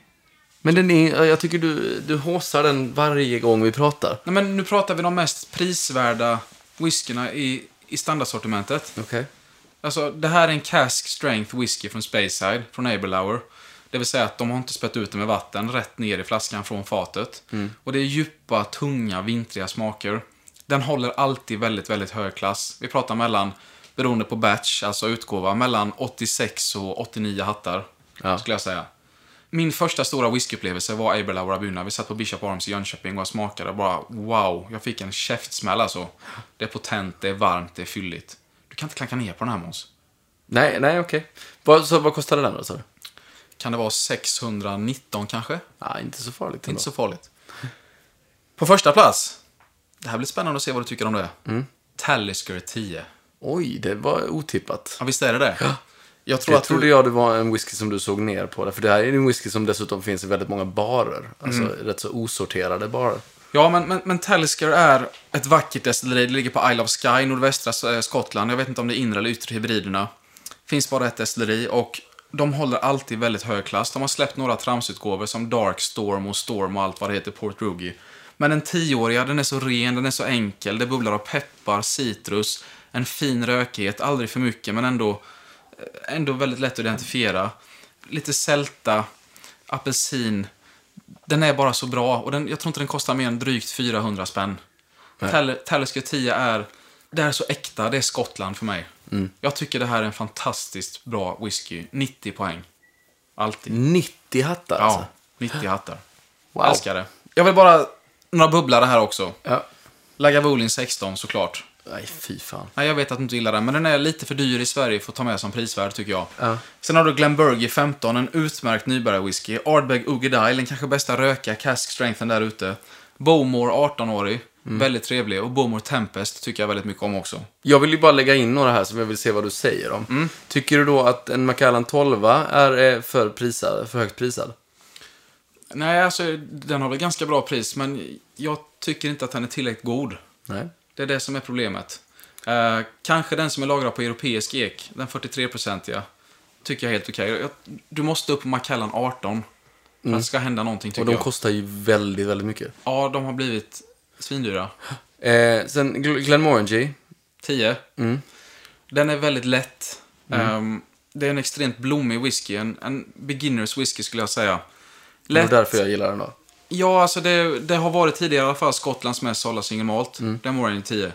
[SPEAKER 2] Men den är, jag tycker du, du håsar den varje gång vi pratar.
[SPEAKER 1] Nej, men nu pratar vi de mest prisvärda whiskyna i, i standardsortimentet.
[SPEAKER 2] Okej.
[SPEAKER 1] Alltså, det här är en cask strength whisky från Speyside, från Abelauer. Det vill säga att de har inte spett ut det med vatten rätt ner i flaskan från fatet. Och det är djupa, tunga, vintriga smaker. Den håller alltid väldigt, väldigt hög klass. Vi pratar mellan, beroende på batch, alltså utgåva, mellan 86 och 89 hattar.
[SPEAKER 2] Ja.
[SPEAKER 1] Skulle jag säga. Min första stora whiskyupplevelse var Abelauer Abuna. Vi satt på Bishop Arms i Jönköping och jag smakade och bara wow. Jag fick en käftsmäll alltså. Det är potent, det är varmt, det är fylligt. Du kan inte klanka ner på den här Måns.
[SPEAKER 2] Nej, nej, okej. Vad, så vad kostade den då, sa du?
[SPEAKER 1] Kan det vara 619 kanske?
[SPEAKER 2] Nej, inte så farligt
[SPEAKER 1] Inte
[SPEAKER 2] ändå.
[SPEAKER 1] så farligt. På första plats. Det här blir spännande att se vad du tycker om det. Talisker 10.
[SPEAKER 2] Oj, det var otippat.
[SPEAKER 1] Ja, visst är det det? Jag tror
[SPEAKER 2] Det
[SPEAKER 1] att du...
[SPEAKER 2] trodde jag det var en whisky som du såg ner på. Där, för det här är ju en whisky som dessutom finns i väldigt många barer. Alltså rätt så osorterade barer.
[SPEAKER 1] Ja, men, men, men Talisker är ett vackert destilleri. Det ligger på Isle of Skye, nordvästra eh, Skottland. Jag vet inte om det är inre eller yttre hybriderna. Finns bara ett destilleri och de håller alltid väldigt hög klass. De har släppt några tramsutgåvor som Dark Storm och Storm och allt vad det heter, Port Rugy. Men den tioåriga, den är så ren, den är så enkel. Det bubblar av peppar, citrus, en fin rökighet, aldrig för mycket men ändå, eh, ändå väldigt lätt att identifiera. Lite sälta, apelsin. Den är bara så bra och den, jag tror inte den kostar mer än drygt 400 spänn. Tal- Talisker 10 är, det är så äkta, det är Skottland för mig.
[SPEAKER 2] Mm.
[SPEAKER 1] Jag tycker det här är en fantastiskt bra whisky. 90 poäng. Alltid.
[SPEAKER 2] 90 hattar Mm. alltså.
[SPEAKER 1] Ja, 90 hattar.
[SPEAKER 2] Wow.
[SPEAKER 1] Älskar det. Jag vill bara, några bubblare här också.
[SPEAKER 2] Ja.
[SPEAKER 1] Lagavulin 16 såklart.
[SPEAKER 2] Nej, fy fan.
[SPEAKER 1] Nej, jag vet att du inte gillar den, men den är lite för dyr i Sverige för att ta med som prisvärd tycker jag.
[SPEAKER 2] Ja.
[SPEAKER 1] Sen har du Glenburgie 15, en utmärkt nybörjarwhisky. Ardbeg Uggedile, den kanske bästa röka cask strengthen där ute. Bowmore 18-årig, väldigt trevlig. Och Bowmore Tempest tycker jag väldigt mycket om också.
[SPEAKER 2] Jag vill ju bara lägga in några här som jag vill se vad du säger om.
[SPEAKER 1] Mm.
[SPEAKER 2] Tycker du då att en Macallan 12 är eh, för, prisad, för högt prisad?
[SPEAKER 1] Nej, alltså den har väl ganska bra pris, men jag tycker inte att den är tillräckligt god.
[SPEAKER 2] Nej.
[SPEAKER 1] Det är det som är problemet. Eh, kanske den som är lagrad på europeisk ek, den 43-procentiga, tycker jag är helt okej. Jag- Du måste upp på Macallan 18. för att Det ska hända någonting
[SPEAKER 2] Mm. Och
[SPEAKER 1] tycker
[SPEAKER 2] de
[SPEAKER 1] jag.
[SPEAKER 2] kostar ju väldigt, väldigt mycket.
[SPEAKER 1] Ja, de har blivit svindyra.
[SPEAKER 2] Eh, sen Gl- Glenmorangie.
[SPEAKER 1] 10.
[SPEAKER 2] Mm.
[SPEAKER 1] Den är väldigt lätt. Ehm, det är en extremt blommig whisky. En, en beginners whisky skulle jag säga.
[SPEAKER 2] Det var
[SPEAKER 1] Lätt.
[SPEAKER 2] därför jag gillar den då.
[SPEAKER 1] Ja, alltså det, det har varit tidigare i alla fall Skottlands mest sålda single malt. Den var den 10.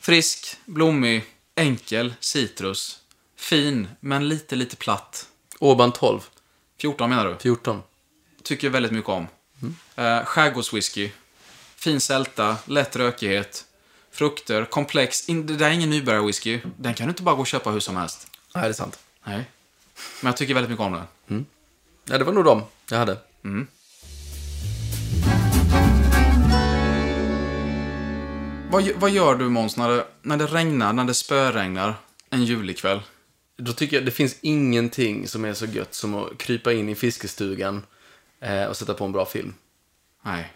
[SPEAKER 1] Frisk, blommig, enkel, citrus. Fin, men lite, lite platt.
[SPEAKER 2] Åban 12.
[SPEAKER 1] 14 menar du?
[SPEAKER 2] 14.
[SPEAKER 1] Tycker väldigt mycket om. Eh, skärgårdswhisky. Fin sälta, lätt rökighet. Frukter, komplex. In, det där är ingen nybörjarwhisky. Den kan du inte bara gå och köpa hur som helst.
[SPEAKER 2] Nej, det är sant.
[SPEAKER 1] Nej. Men jag tycker väldigt mycket om den.
[SPEAKER 2] Ja, det var nog dem jag hade.
[SPEAKER 1] Vad, gö- vad gör du Måns när det, när det regnar, när det spöregnar en julikväll?
[SPEAKER 2] Då tycker jag det finns ingenting som är så gött som att krypa in i fiskestugan eh, och sätta på en bra film.
[SPEAKER 1] Nej.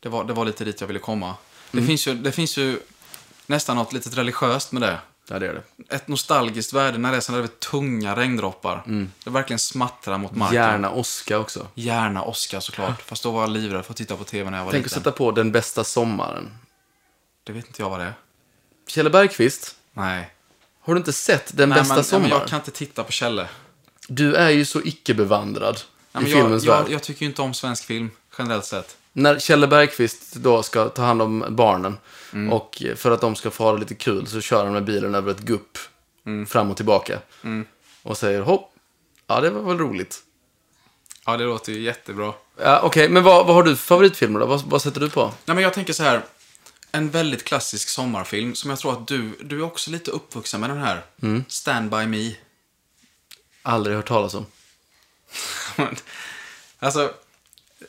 [SPEAKER 1] Det var, det var lite dit jag ville komma.
[SPEAKER 2] Mm.
[SPEAKER 1] Det, finns ju, det finns ju nästan något litet religiöst med det.
[SPEAKER 2] Ja, det är det.
[SPEAKER 1] Ett nostalgiskt värde när det är sådana där tunga regndroppar.
[SPEAKER 2] Mm.
[SPEAKER 1] Det verkligen smattrar mot marken.
[SPEAKER 2] Gärna Oscar också.
[SPEAKER 1] Gärna Oscar såklart. Fast då var jag livrädd för att titta på TV när jag var
[SPEAKER 2] Tänk att
[SPEAKER 1] liten.
[SPEAKER 2] sätta på Den bästa sommaren.
[SPEAKER 1] Det vet inte jag vad det är.
[SPEAKER 2] Kjell Bergqvist,
[SPEAKER 1] Nej.
[SPEAKER 2] har du inte sett Den
[SPEAKER 1] Nej,
[SPEAKER 2] bästa
[SPEAKER 1] men, nej,
[SPEAKER 2] sommaren?
[SPEAKER 1] men jag kan inte titta på källor.
[SPEAKER 2] Du är ju så icke-bevandrad
[SPEAKER 1] Nej,
[SPEAKER 2] i
[SPEAKER 1] men jag,
[SPEAKER 2] filmens
[SPEAKER 1] jag,
[SPEAKER 2] värld.
[SPEAKER 1] jag tycker ju inte om svensk film, generellt sett.
[SPEAKER 2] När Kjell Bergqvist då ska ta hand om barnen
[SPEAKER 1] Mm.
[SPEAKER 2] och för att de ska få ha det lite kul så kör han med bilen över ett gupp
[SPEAKER 1] Mm.
[SPEAKER 2] fram och tillbaka. Och säger hopp, ja det var väl roligt.
[SPEAKER 1] Ja, det låter ju jättebra.
[SPEAKER 2] Ja, Okej, men vad, vad har du för favoritfilmer då? Vad, vad sätter du på?
[SPEAKER 1] Nej, men jag tänker så här. En väldigt klassisk sommarfilm som jag tror att du, du är också lite uppvuxen med den här. Stand by me.
[SPEAKER 2] Aldrig hört talas om.
[SPEAKER 1] Men, alltså,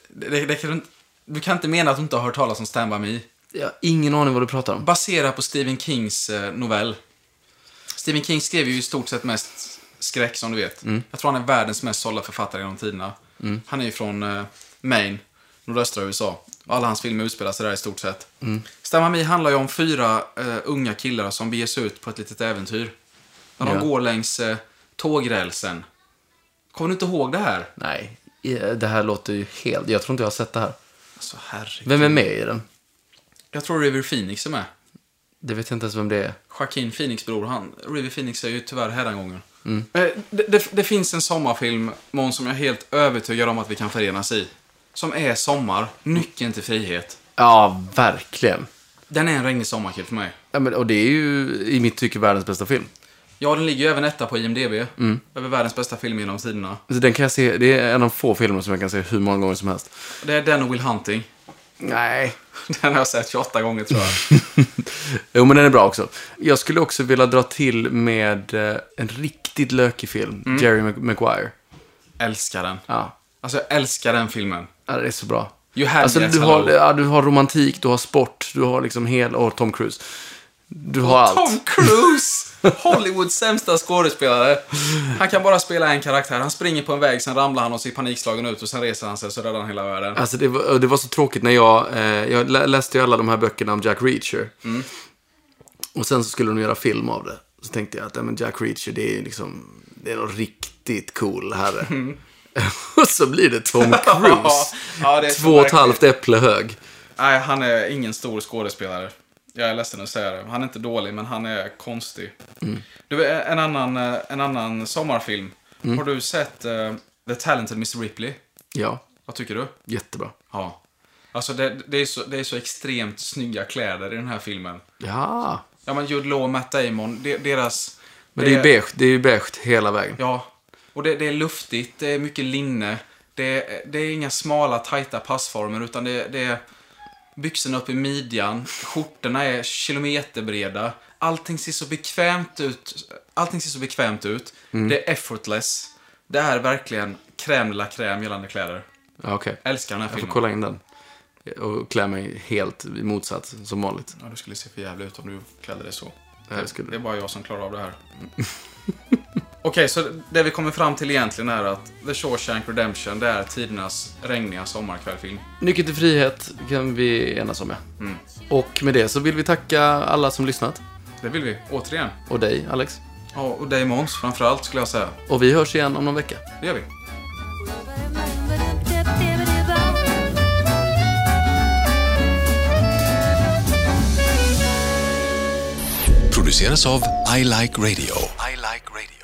[SPEAKER 1] det, det kan, du inte- du kan inte mena att du inte har hört talas om Stand By Me.
[SPEAKER 2] Jag har ingen aning vad du pratar om.
[SPEAKER 1] Baserat på Stephen Kings eh, novell. Stephen King skrev ju i stort sett mest skräck, som du vet.
[SPEAKER 2] Mm.
[SPEAKER 1] Jag tror han är världens mest sålda författare genom tiderna. Han är ju från eh, Maine, nordöstra USA. Och alla hans filmer utspelar sig där i stort sett. Mm. Stand By Me handlar ju om fyra eh, unga killar som beger sig ut på ett litet äventyr. När de
[SPEAKER 2] Ja.
[SPEAKER 1] går längs eh, tågrälsen Kommer du inte ihåg det här?
[SPEAKER 2] Nej, eh, det här låter ju helt... Jag tror inte jag har sett det här.
[SPEAKER 1] Alltså herregud.
[SPEAKER 2] Vem är med i den?
[SPEAKER 1] Jag tror River Phoenix är med.
[SPEAKER 2] Det vet jag inte ens vem det är.
[SPEAKER 1] Joaquin Phoenix bror, han. River Phoenix är ju tyvärr hädangången.
[SPEAKER 2] Mm.
[SPEAKER 1] Eh, Det, det, det finns en sommarfilm, Måns, som jag är helt övertygad om att vi kan förenas i. Som är sommar, nyckeln till frihet.
[SPEAKER 2] Ja, verkligen.
[SPEAKER 1] Den är en regnig sommarkväll för mig.
[SPEAKER 2] Ja, men, och det är ju i mitt tycke världens bästa film.
[SPEAKER 1] Ja, den ligger ju även etta på IMDB.
[SPEAKER 2] Mm.
[SPEAKER 1] Över världens bästa film genom tiderna.
[SPEAKER 2] Så den kan jag se, det är en av få filmer som jag kan se hur många gånger som helst.
[SPEAKER 1] Det är den och Will Hunting.
[SPEAKER 2] Nej.
[SPEAKER 1] Den har jag sett 28 gånger tror jag.
[SPEAKER 2] Jo, men den är bra också. Jag skulle också vilja dra till med eh, en riktigt lökig film, Jerry Mag- Maguire. Mm.
[SPEAKER 1] älskar den.
[SPEAKER 2] Ja.
[SPEAKER 1] Alltså jag älskar den filmen.
[SPEAKER 2] ja, det är så bra.
[SPEAKER 1] You had
[SPEAKER 2] Alltså,
[SPEAKER 1] me at
[SPEAKER 2] du, har,
[SPEAKER 1] hello.
[SPEAKER 2] ja, du har romantik, du har sport, du har liksom hel... Och Tom Cruise. Du har allt.
[SPEAKER 1] Tom Cruise! Hollywoods sämsta skådespelare. Han kan bara spela en karaktär. Han springer på en väg, sen ramlar han och ser panikslagen ut och sen reser han sig och så räddar han hela världen.
[SPEAKER 2] Alltså det var, det var så tråkigt när jag, eh, jag lä- läste ju alla de här böckerna om Jack Reacher.
[SPEAKER 1] Mm.
[SPEAKER 2] Och sen så skulle de göra film av det. Så tänkte jag att ja, men Jack Reacher det är ju liksom, det är någon riktigt cool herre. och så blir det Tom Cruise.
[SPEAKER 1] Mm. Ja, det är så
[SPEAKER 2] Två och ett
[SPEAKER 1] verkligt.
[SPEAKER 2] halvt äpple hög.
[SPEAKER 1] Nej, han är ingen stor skådespelare. Jag är ledsen att säga det. Han är inte dålig, men han är konstig. Du, en annan, eh, en annan sommarfilm. Har du sett eh, The Talented Mr. Ripley?
[SPEAKER 2] Ja,
[SPEAKER 1] Vad tycker du?
[SPEAKER 2] jättebra.
[SPEAKER 1] Ja. Alltså, det, det, är så, det är så extremt snygga kläder i den här filmen.
[SPEAKER 2] Ja,
[SPEAKER 1] Ja, men Jude Law och Matt Damon, de, deras...
[SPEAKER 2] men det, är ju beige, det är ju beige hela vägen.
[SPEAKER 1] Ja. Och det, det är luftigt, det är mycket linne. Det, är- det är inga smala, tajta passformer, utan det, det är byxorna upp i midjan. Skjortorna är kilometerbreda. Allting ser så bekvämt ut. Allting ser så bekvämt ut.
[SPEAKER 2] Mm.
[SPEAKER 1] Det är effortless. Det är verkligen crème de la crème gällande kläder.
[SPEAKER 2] Ja, okej.
[SPEAKER 1] Älskar den här
[SPEAKER 2] Jag får
[SPEAKER 1] filmen.
[SPEAKER 2] kolla in den. Och klä mig helt i motsats, som vanligt.
[SPEAKER 1] Ja, du skulle se för jävligt ut om du klädde dig så.
[SPEAKER 2] Det här skulle-
[SPEAKER 1] Det är bara jag som klarar av det här. Okej, så det vi kommer fram till egentligen är att The Shawshank Redemption, det är tidernas regniga sommarkvällfilm.
[SPEAKER 2] Nyckeln till frihet kan vi enas om, ja.
[SPEAKER 1] Mm.
[SPEAKER 2] Och med det så vill vi tacka alla som lyssnat.
[SPEAKER 1] Det vill vi, återigen.
[SPEAKER 2] Och dig, Alex.
[SPEAKER 1] Ja, och dig Måns framförallt skulle jag säga.
[SPEAKER 2] Och vi hörs igen om någon vecka.
[SPEAKER 1] Det gör vi.
[SPEAKER 3] Produceras av I Like Radio. I like radio.